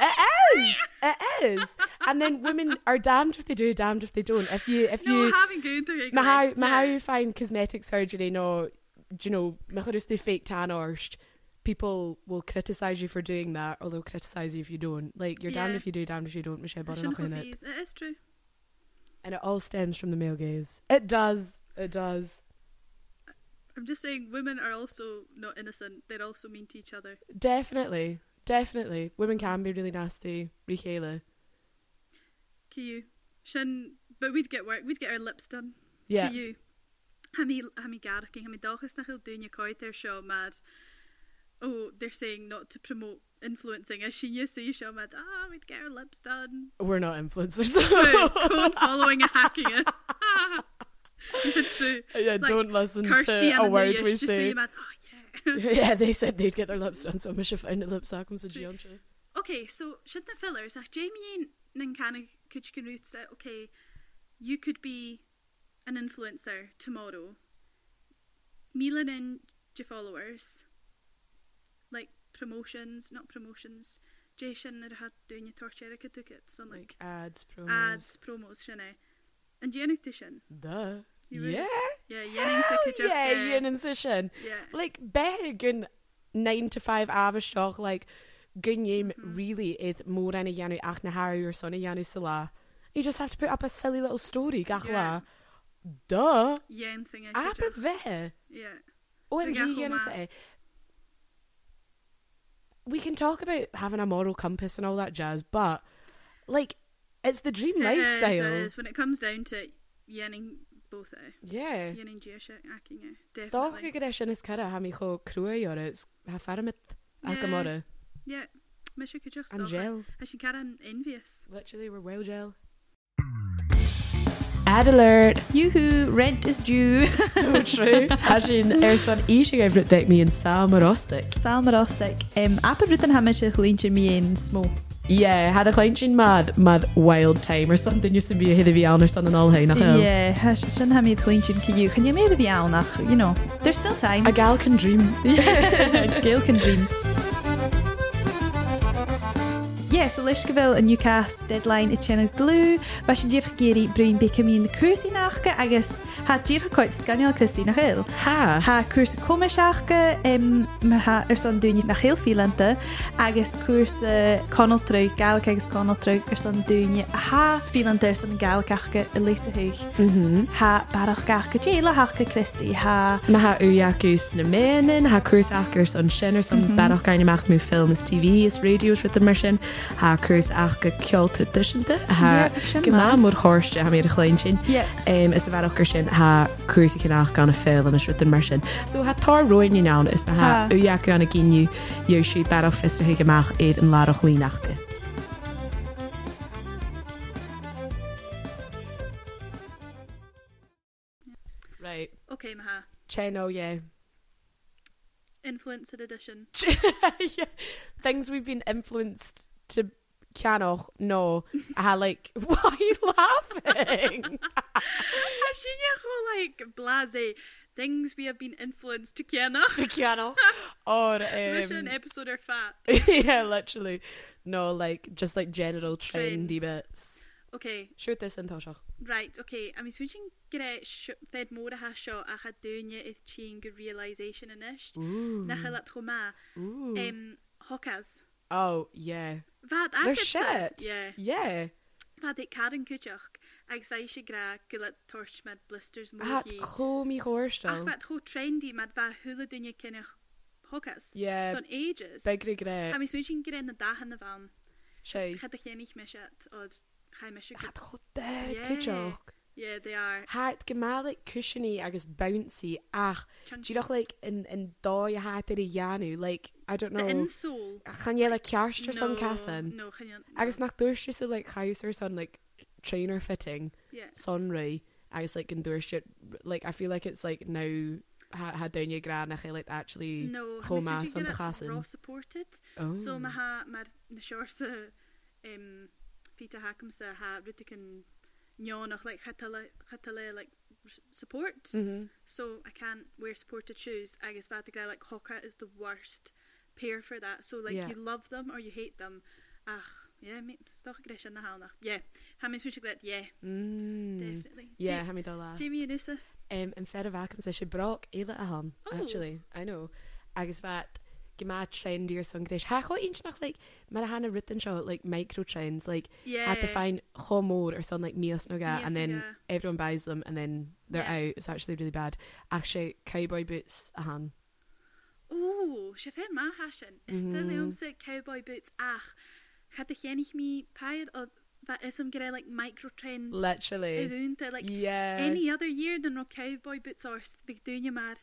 [SPEAKER 1] It is. It is. And then women are damned if they do, damned if they don't. If you, if
[SPEAKER 2] No,
[SPEAKER 1] you,
[SPEAKER 2] having good thing.
[SPEAKER 1] ma how, ma how you find cosmetic surgery, no, do you know, ma how do fake tan orscht. People will criticize you for doing that, or they'll criticize you if you don't. Like you're damned
[SPEAKER 2] Yeah.
[SPEAKER 1] if you do, damned if you don't. Michelle
[SPEAKER 2] I
[SPEAKER 1] Bonner
[SPEAKER 2] shouldn't
[SPEAKER 1] knocking
[SPEAKER 2] have
[SPEAKER 1] it,
[SPEAKER 2] it. It is true.
[SPEAKER 1] and it all stems from the male gaze. It does. It does.
[SPEAKER 2] I'm just saying, women are also not innocent. They're also mean to each other.
[SPEAKER 1] Definitely, definitely. Women can be really nasty. Rikayla.
[SPEAKER 2] Can you? Shin, but we'd get work. We'd get our lips done.
[SPEAKER 1] Yeah.
[SPEAKER 2] Can you? Hami, hami garaching, hami dalchas na hil dunya koi ter show mad. Oh, they're saying not to promote influencing. As she used to, you show mad. Ah, we'd get our lips
[SPEAKER 1] *laughs*
[SPEAKER 2] done.
[SPEAKER 1] We're
[SPEAKER 2] *laughs*
[SPEAKER 1] not influencers.
[SPEAKER 2] True. Cone following and hacking it. *laughs* True.
[SPEAKER 1] *laughs* yeah, don't listen
[SPEAKER 2] Kirsty
[SPEAKER 1] to
[SPEAKER 2] and
[SPEAKER 1] a
[SPEAKER 2] Amelia,
[SPEAKER 1] word we
[SPEAKER 2] she's just
[SPEAKER 1] say. *laughs*
[SPEAKER 2] saying mad. Oh yeah.
[SPEAKER 1] yeah, they said they'd get their lips done, so I must have found a lip sack on the
[SPEAKER 2] True.
[SPEAKER 1] Giancha.
[SPEAKER 2] Okay, so should the fillers, ach Jamie and Nankana Kuchkin Ruth said, okay, you could be an influencer tomorrow. Milan and your followers, like promottions, not promotions, Jason and had doing your torture ticket, so
[SPEAKER 1] Like
[SPEAKER 2] like
[SPEAKER 1] ads, promos.
[SPEAKER 2] ads, promos, shouldn't And Jenny Tishin.
[SPEAKER 1] Duh.
[SPEAKER 2] You would-
[SPEAKER 1] yeah.
[SPEAKER 2] Yeah, Jenny
[SPEAKER 1] Hell
[SPEAKER 2] Sikajuk.
[SPEAKER 1] yeah, yeah, and incision.
[SPEAKER 2] eh? Yeah.
[SPEAKER 1] Like, beg and nine to five average talk, like, Gunyim
[SPEAKER 2] Mm-hmm.
[SPEAKER 1] really is more than a Yanu Achnaharu or son of Yanu Salah. You just have to put up a silly little story, Gachla.
[SPEAKER 2] Yeah.
[SPEAKER 1] Duh.
[SPEAKER 2] Yen singing.
[SPEAKER 1] Abba there.
[SPEAKER 2] Yeah.
[SPEAKER 1] OMG,
[SPEAKER 2] Gachel
[SPEAKER 1] you know,
[SPEAKER 2] Matt.
[SPEAKER 1] say, we can talk about having a moral compass and all that jazz, but like, it's the dream
[SPEAKER 2] It is, it
[SPEAKER 1] lifestyle.
[SPEAKER 2] is. When it comes down to it, Yenning both eh? out.
[SPEAKER 1] Yeah.
[SPEAKER 2] Ian and Jia shit acting it.
[SPEAKER 1] Stoch
[SPEAKER 2] Definitely.
[SPEAKER 1] i gyda sy'n ysgara ham i cho crwy o'r ys ha ffaramit ac
[SPEAKER 2] Yeah.
[SPEAKER 1] ymora.
[SPEAKER 2] Yeah. Misha could just
[SPEAKER 1] And gel.
[SPEAKER 2] I should get an envious.
[SPEAKER 1] Literally, we're well gel.
[SPEAKER 3] Ad alert! Yoo-hoo, rent is due.
[SPEAKER 1] *laughs* So true. As in, erson eisiau gael rydeg mi yn sam o'r ostig.
[SPEAKER 3] Salmarostic. Um, I've been written how much the Collegian me in small.
[SPEAKER 1] Yeah, had a clench in mad, mad wild time or something used to be a hidden vian or something all hyn.
[SPEAKER 3] Yeah, hash shouldn't have made Collegian to you. Can you make the Vialnach? You know, there's still time.
[SPEAKER 1] A gal can dream.
[SPEAKER 3] Gail can dream. Yeah, so Lishkaville and Newcast deadline a Chenneth Glue. Vashin Dirk Gary, Brian Baker, me and the Cursey Nachka. I guess Tá díra coid scanneil Christína Hill.
[SPEAKER 1] Ha
[SPEAKER 3] Tá cuasa comiseachcha im ar san dúine nach chéalhílanta agus cuasa conaltrú galcha agus conaltrú ar san dúine athílanta san galcacha i lísathaich.
[SPEAKER 1] Hm?
[SPEAKER 3] Tá barach gaach go déile hacha Christí ha
[SPEAKER 1] Mm-hmm. Ma ha ujakus na menin, ha cruise akers on sinnner som mm -hmm. barach gaine macht mu film is TV is radios with the immersion, ha cruise aka kjolte tussente, ha
[SPEAKER 3] Ja, sin
[SPEAKER 1] gema
[SPEAKER 3] mar.
[SPEAKER 1] mor horste ha meer glein sin. Um, is a bhar ochgur sin ha cruúsa cinach gan a film is ruta mar sin. So ha tá roiin í ná nou, is me ha
[SPEAKER 3] Ha.
[SPEAKER 1] uheacu anna giniu dhéir si barh fistrathe goach iad an lách línacha. Right.
[SPEAKER 2] Okay, Maha.
[SPEAKER 1] Cheno, *laughs* yeah.
[SPEAKER 2] Influencer edition. *laughs*
[SPEAKER 1] yeah. Things we've been influenced to canoch, no. I had like, *laughs* why are you laughing?
[SPEAKER 2] Actually, yeah, whole like blase things we have been influenced to Kiana.
[SPEAKER 1] *laughs* to
[SPEAKER 2] *laughs*
[SPEAKER 1] canoch. Or, um,
[SPEAKER 2] Mission episode or fat.
[SPEAKER 1] *laughs* yeah, literally. No, like just like general
[SPEAKER 2] Trends.
[SPEAKER 1] trendy bits.
[SPEAKER 2] Okay,
[SPEAKER 1] Shoot this in Tosha.
[SPEAKER 2] right, okay. I mean, switching gre fed more ha shot a had dunya is chain good realization in ish.
[SPEAKER 1] Ooh.
[SPEAKER 2] Nahalat Homa.
[SPEAKER 1] Ooh.
[SPEAKER 2] Um, Hokas.
[SPEAKER 1] Oh yeah.
[SPEAKER 2] Vad
[SPEAKER 1] They're shit.
[SPEAKER 2] Yeah.
[SPEAKER 1] Yeah.
[SPEAKER 2] Vad it Karen Kuchach. Ag svaishe gra gulat torch mad blisters
[SPEAKER 1] I had
[SPEAKER 2] mohi.
[SPEAKER 1] Comey
[SPEAKER 2] Ach
[SPEAKER 1] Horsham.
[SPEAKER 2] vad ho trendy mad va hula dunya kinach Hokas.
[SPEAKER 1] Yeah.
[SPEAKER 2] Son ages.
[SPEAKER 1] Big
[SPEAKER 2] I
[SPEAKER 1] regret.
[SPEAKER 2] mean, switching gre in the dag in the van.
[SPEAKER 1] Shay.
[SPEAKER 2] Had the chenig mishat or chai mishat.
[SPEAKER 1] Had hot dead.
[SPEAKER 2] Yeah.
[SPEAKER 1] Good joke.
[SPEAKER 2] Yeah, they are.
[SPEAKER 1] Had gemalik cushiony agus bouncy. Ach, do
[SPEAKER 2] Chunky.
[SPEAKER 1] you know like in in daw you had to yanu like I don't
[SPEAKER 2] The
[SPEAKER 1] know.
[SPEAKER 2] insole.
[SPEAKER 1] Can you like kiarst or some cassin?
[SPEAKER 2] No, can you?
[SPEAKER 1] Agus nach durst you so like house or son like trainer fitting.
[SPEAKER 2] Yeah.
[SPEAKER 1] sunray I was like endorsed it like I feel like it's like now ha had down your gran I like actually
[SPEAKER 2] No.
[SPEAKER 1] Chomá son chasan.
[SPEAKER 2] Raw supported.
[SPEAKER 1] oh
[SPEAKER 2] So ma ha mar na siorsa um, fita hacam sa ha ruticin nionach like chatale chatale like r- support. Mm.
[SPEAKER 1] mm-hmm.
[SPEAKER 2] So I can't wear supported shoes. I guess bad guy like hoka is the worst pair for that. So like
[SPEAKER 1] Yeah.
[SPEAKER 2] yeah. you love them or you hate them. Ach, yeah, me stoch gresh na halna. Yeah. Ha mis fwysi gled, yeah, mm.
[SPEAKER 1] mm.
[SPEAKER 2] definitely.
[SPEAKER 1] yeah
[SPEAKER 2] Ja-
[SPEAKER 1] ha me dá lá
[SPEAKER 2] Jamie and Usa.
[SPEAKER 1] um, yn fer y vacum se si broc eile a ham
[SPEAKER 2] Oh.
[SPEAKER 1] actually I know agus fat gyma trendy or some grish ha cho inch nach like mar hanna written show like micro trends like
[SPEAKER 2] Yeah.
[SPEAKER 1] had to find homor or something like mios noga
[SPEAKER 2] Mios
[SPEAKER 1] and then
[SPEAKER 2] Noga.
[SPEAKER 1] everyone buys them and then they're
[SPEAKER 2] Yeah.
[SPEAKER 1] out it's actually really bad actually cowboy boots a han
[SPEAKER 2] Ooh, she found my hashin. Is the
[SPEAKER 1] Mm-hmm.
[SPEAKER 2] Leomsa cowboy boots ach. Had the chenig me pair of that is some gre like micro trends.
[SPEAKER 1] literally
[SPEAKER 2] Isn't like
[SPEAKER 1] yeah
[SPEAKER 2] any other year than no cowboy boots are big dunya mad.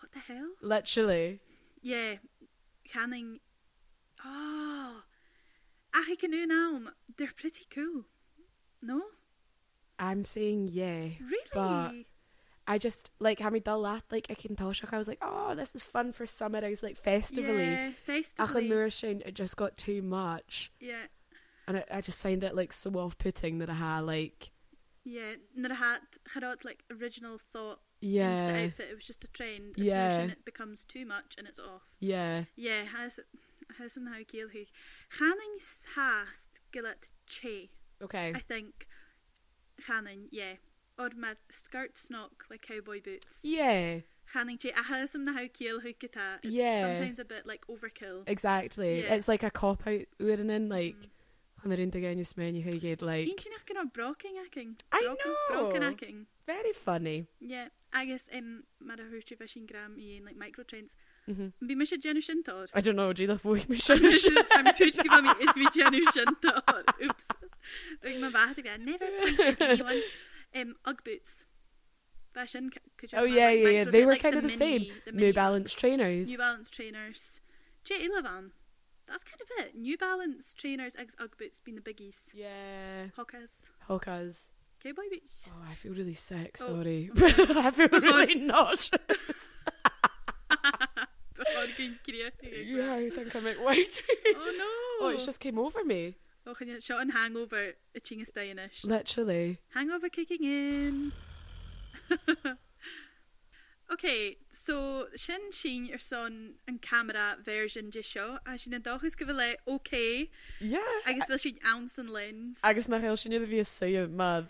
[SPEAKER 2] What the hell?
[SPEAKER 1] literally
[SPEAKER 2] Yeah. Canning Oh Ach I can now they're pretty cool. No?
[SPEAKER 1] I'm saying yeah
[SPEAKER 2] Really?
[SPEAKER 1] But- I just like how me dull laugh like I can tell shock I was like oh this is fun for summer I was like festively
[SPEAKER 2] yeah,
[SPEAKER 1] ach and
[SPEAKER 2] festively.
[SPEAKER 1] nourishing it just got too much
[SPEAKER 2] Yeah.
[SPEAKER 1] and I, I just find it like so off-putting that I had like
[SPEAKER 2] Yeah, not a hat, had like original thought into the
[SPEAKER 1] yeah
[SPEAKER 2] outfit. It was just a trend. As
[SPEAKER 1] Yeah.
[SPEAKER 2] yeah. soon as it becomes too much and it's off.
[SPEAKER 1] yeah
[SPEAKER 2] Yeah, has has somehow gael who Channing hast gilat che.
[SPEAKER 1] okay
[SPEAKER 2] I think Channing, yeah. Or mad skirt snock like cowboy boots.
[SPEAKER 1] yeah
[SPEAKER 2] Channing che. I has somehow gael who kita. It's
[SPEAKER 1] Yeah.
[SPEAKER 2] Sometimes a bit like overkill.
[SPEAKER 1] exactly yeah.
[SPEAKER 2] Yeah. Mm.
[SPEAKER 1] it's like a cop out we're in like "Oh, and they're in the you smell you get like
[SPEAKER 2] Ancient acting or broking acting.
[SPEAKER 1] I know.
[SPEAKER 2] Broken acting.
[SPEAKER 1] very funny
[SPEAKER 2] Yeah, I guess um, mad a hwyrtri fesin gram i un like micro trends.
[SPEAKER 1] Mhm.
[SPEAKER 2] Bi mis y genu shintor.
[SPEAKER 1] I don't know do you
[SPEAKER 2] *laughs*
[SPEAKER 1] love voice
[SPEAKER 2] I'm switch gyda mi if mi genu *laughs* shintor. Oops. Like my bath again. Never point at anyone. Um, Ugg boots. er Fashion.
[SPEAKER 1] oh yeah yeah yeah they were kind of the same New Balance trainers
[SPEAKER 2] New Balance trainers. J. Elevan. That's kind of it. New Balance trainers, eggs, Ugg boots being the biggies.
[SPEAKER 1] Yeah,
[SPEAKER 2] Hokas.
[SPEAKER 1] hokas.
[SPEAKER 2] Cowboy boots. *laughs*
[SPEAKER 1] Oh, I feel really sick.
[SPEAKER 2] Oh.
[SPEAKER 1] *laughs* Sorry, I feel really nauseous. *laughs*
[SPEAKER 2] Fucking creepy.
[SPEAKER 1] yeah, I think I'm out white.
[SPEAKER 2] Oh no.
[SPEAKER 1] oh, it just came over me.
[SPEAKER 2] Och, and yet shot and hangover a chingus Danish.
[SPEAKER 1] Literally.
[SPEAKER 2] Hangover kicking in. *laughs* okay, so Shin Sheen your son and camera version just show as you know who's give like okay.
[SPEAKER 1] Yeah.
[SPEAKER 2] I guess we'll shoot ounce and lens.
[SPEAKER 1] Agus nach hel sin iddo fi a sayo mad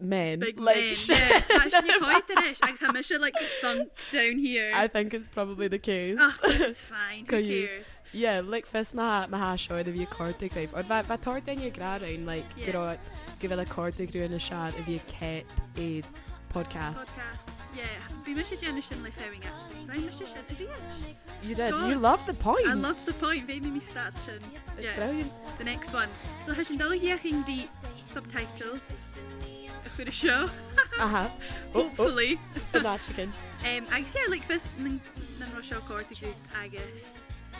[SPEAKER 1] men.
[SPEAKER 2] Big
[SPEAKER 1] like, *laughs*
[SPEAKER 2] men.
[SPEAKER 1] sh-
[SPEAKER 2] Yeah, actually quite the dish. Like, I'm sure, like sunk down here.
[SPEAKER 1] I think it's probably the case.
[SPEAKER 2] Ach, it's
[SPEAKER 1] *laughs*
[SPEAKER 2] fine. Who
[SPEAKER 1] Can you-
[SPEAKER 2] cares?
[SPEAKER 1] Yeah, like fes ma ma ha seo a bhí cordta raibh or bheit ba tarta in grain like
[SPEAKER 2] Yeah.
[SPEAKER 1] go go bhfuil a cordta grú na sead a bhí cat éiad podcast.
[SPEAKER 2] Podcast. Yeah. Be Mr. Jenison like fairing actually. Right, Mr. Shin. Is he it?
[SPEAKER 1] You did.
[SPEAKER 2] God.
[SPEAKER 1] You love the point.
[SPEAKER 2] I love the point. Maybe me start Shin.
[SPEAKER 1] It's
[SPEAKER 2] Yeah.
[SPEAKER 1] brilliant.
[SPEAKER 2] The next one. So Hashindalu Yaking the subtitles for the show.
[SPEAKER 1] Aha. Oh, oh,
[SPEAKER 2] Hopefully.
[SPEAKER 1] so that chicken.
[SPEAKER 2] Um, I guess yeah, like this nan ro seo cóta go agus.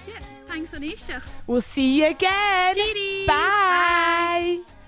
[SPEAKER 2] Yeah, thanks an éisteach.
[SPEAKER 1] We'll see you again.
[SPEAKER 2] Cheerio.
[SPEAKER 1] Bye. Bye.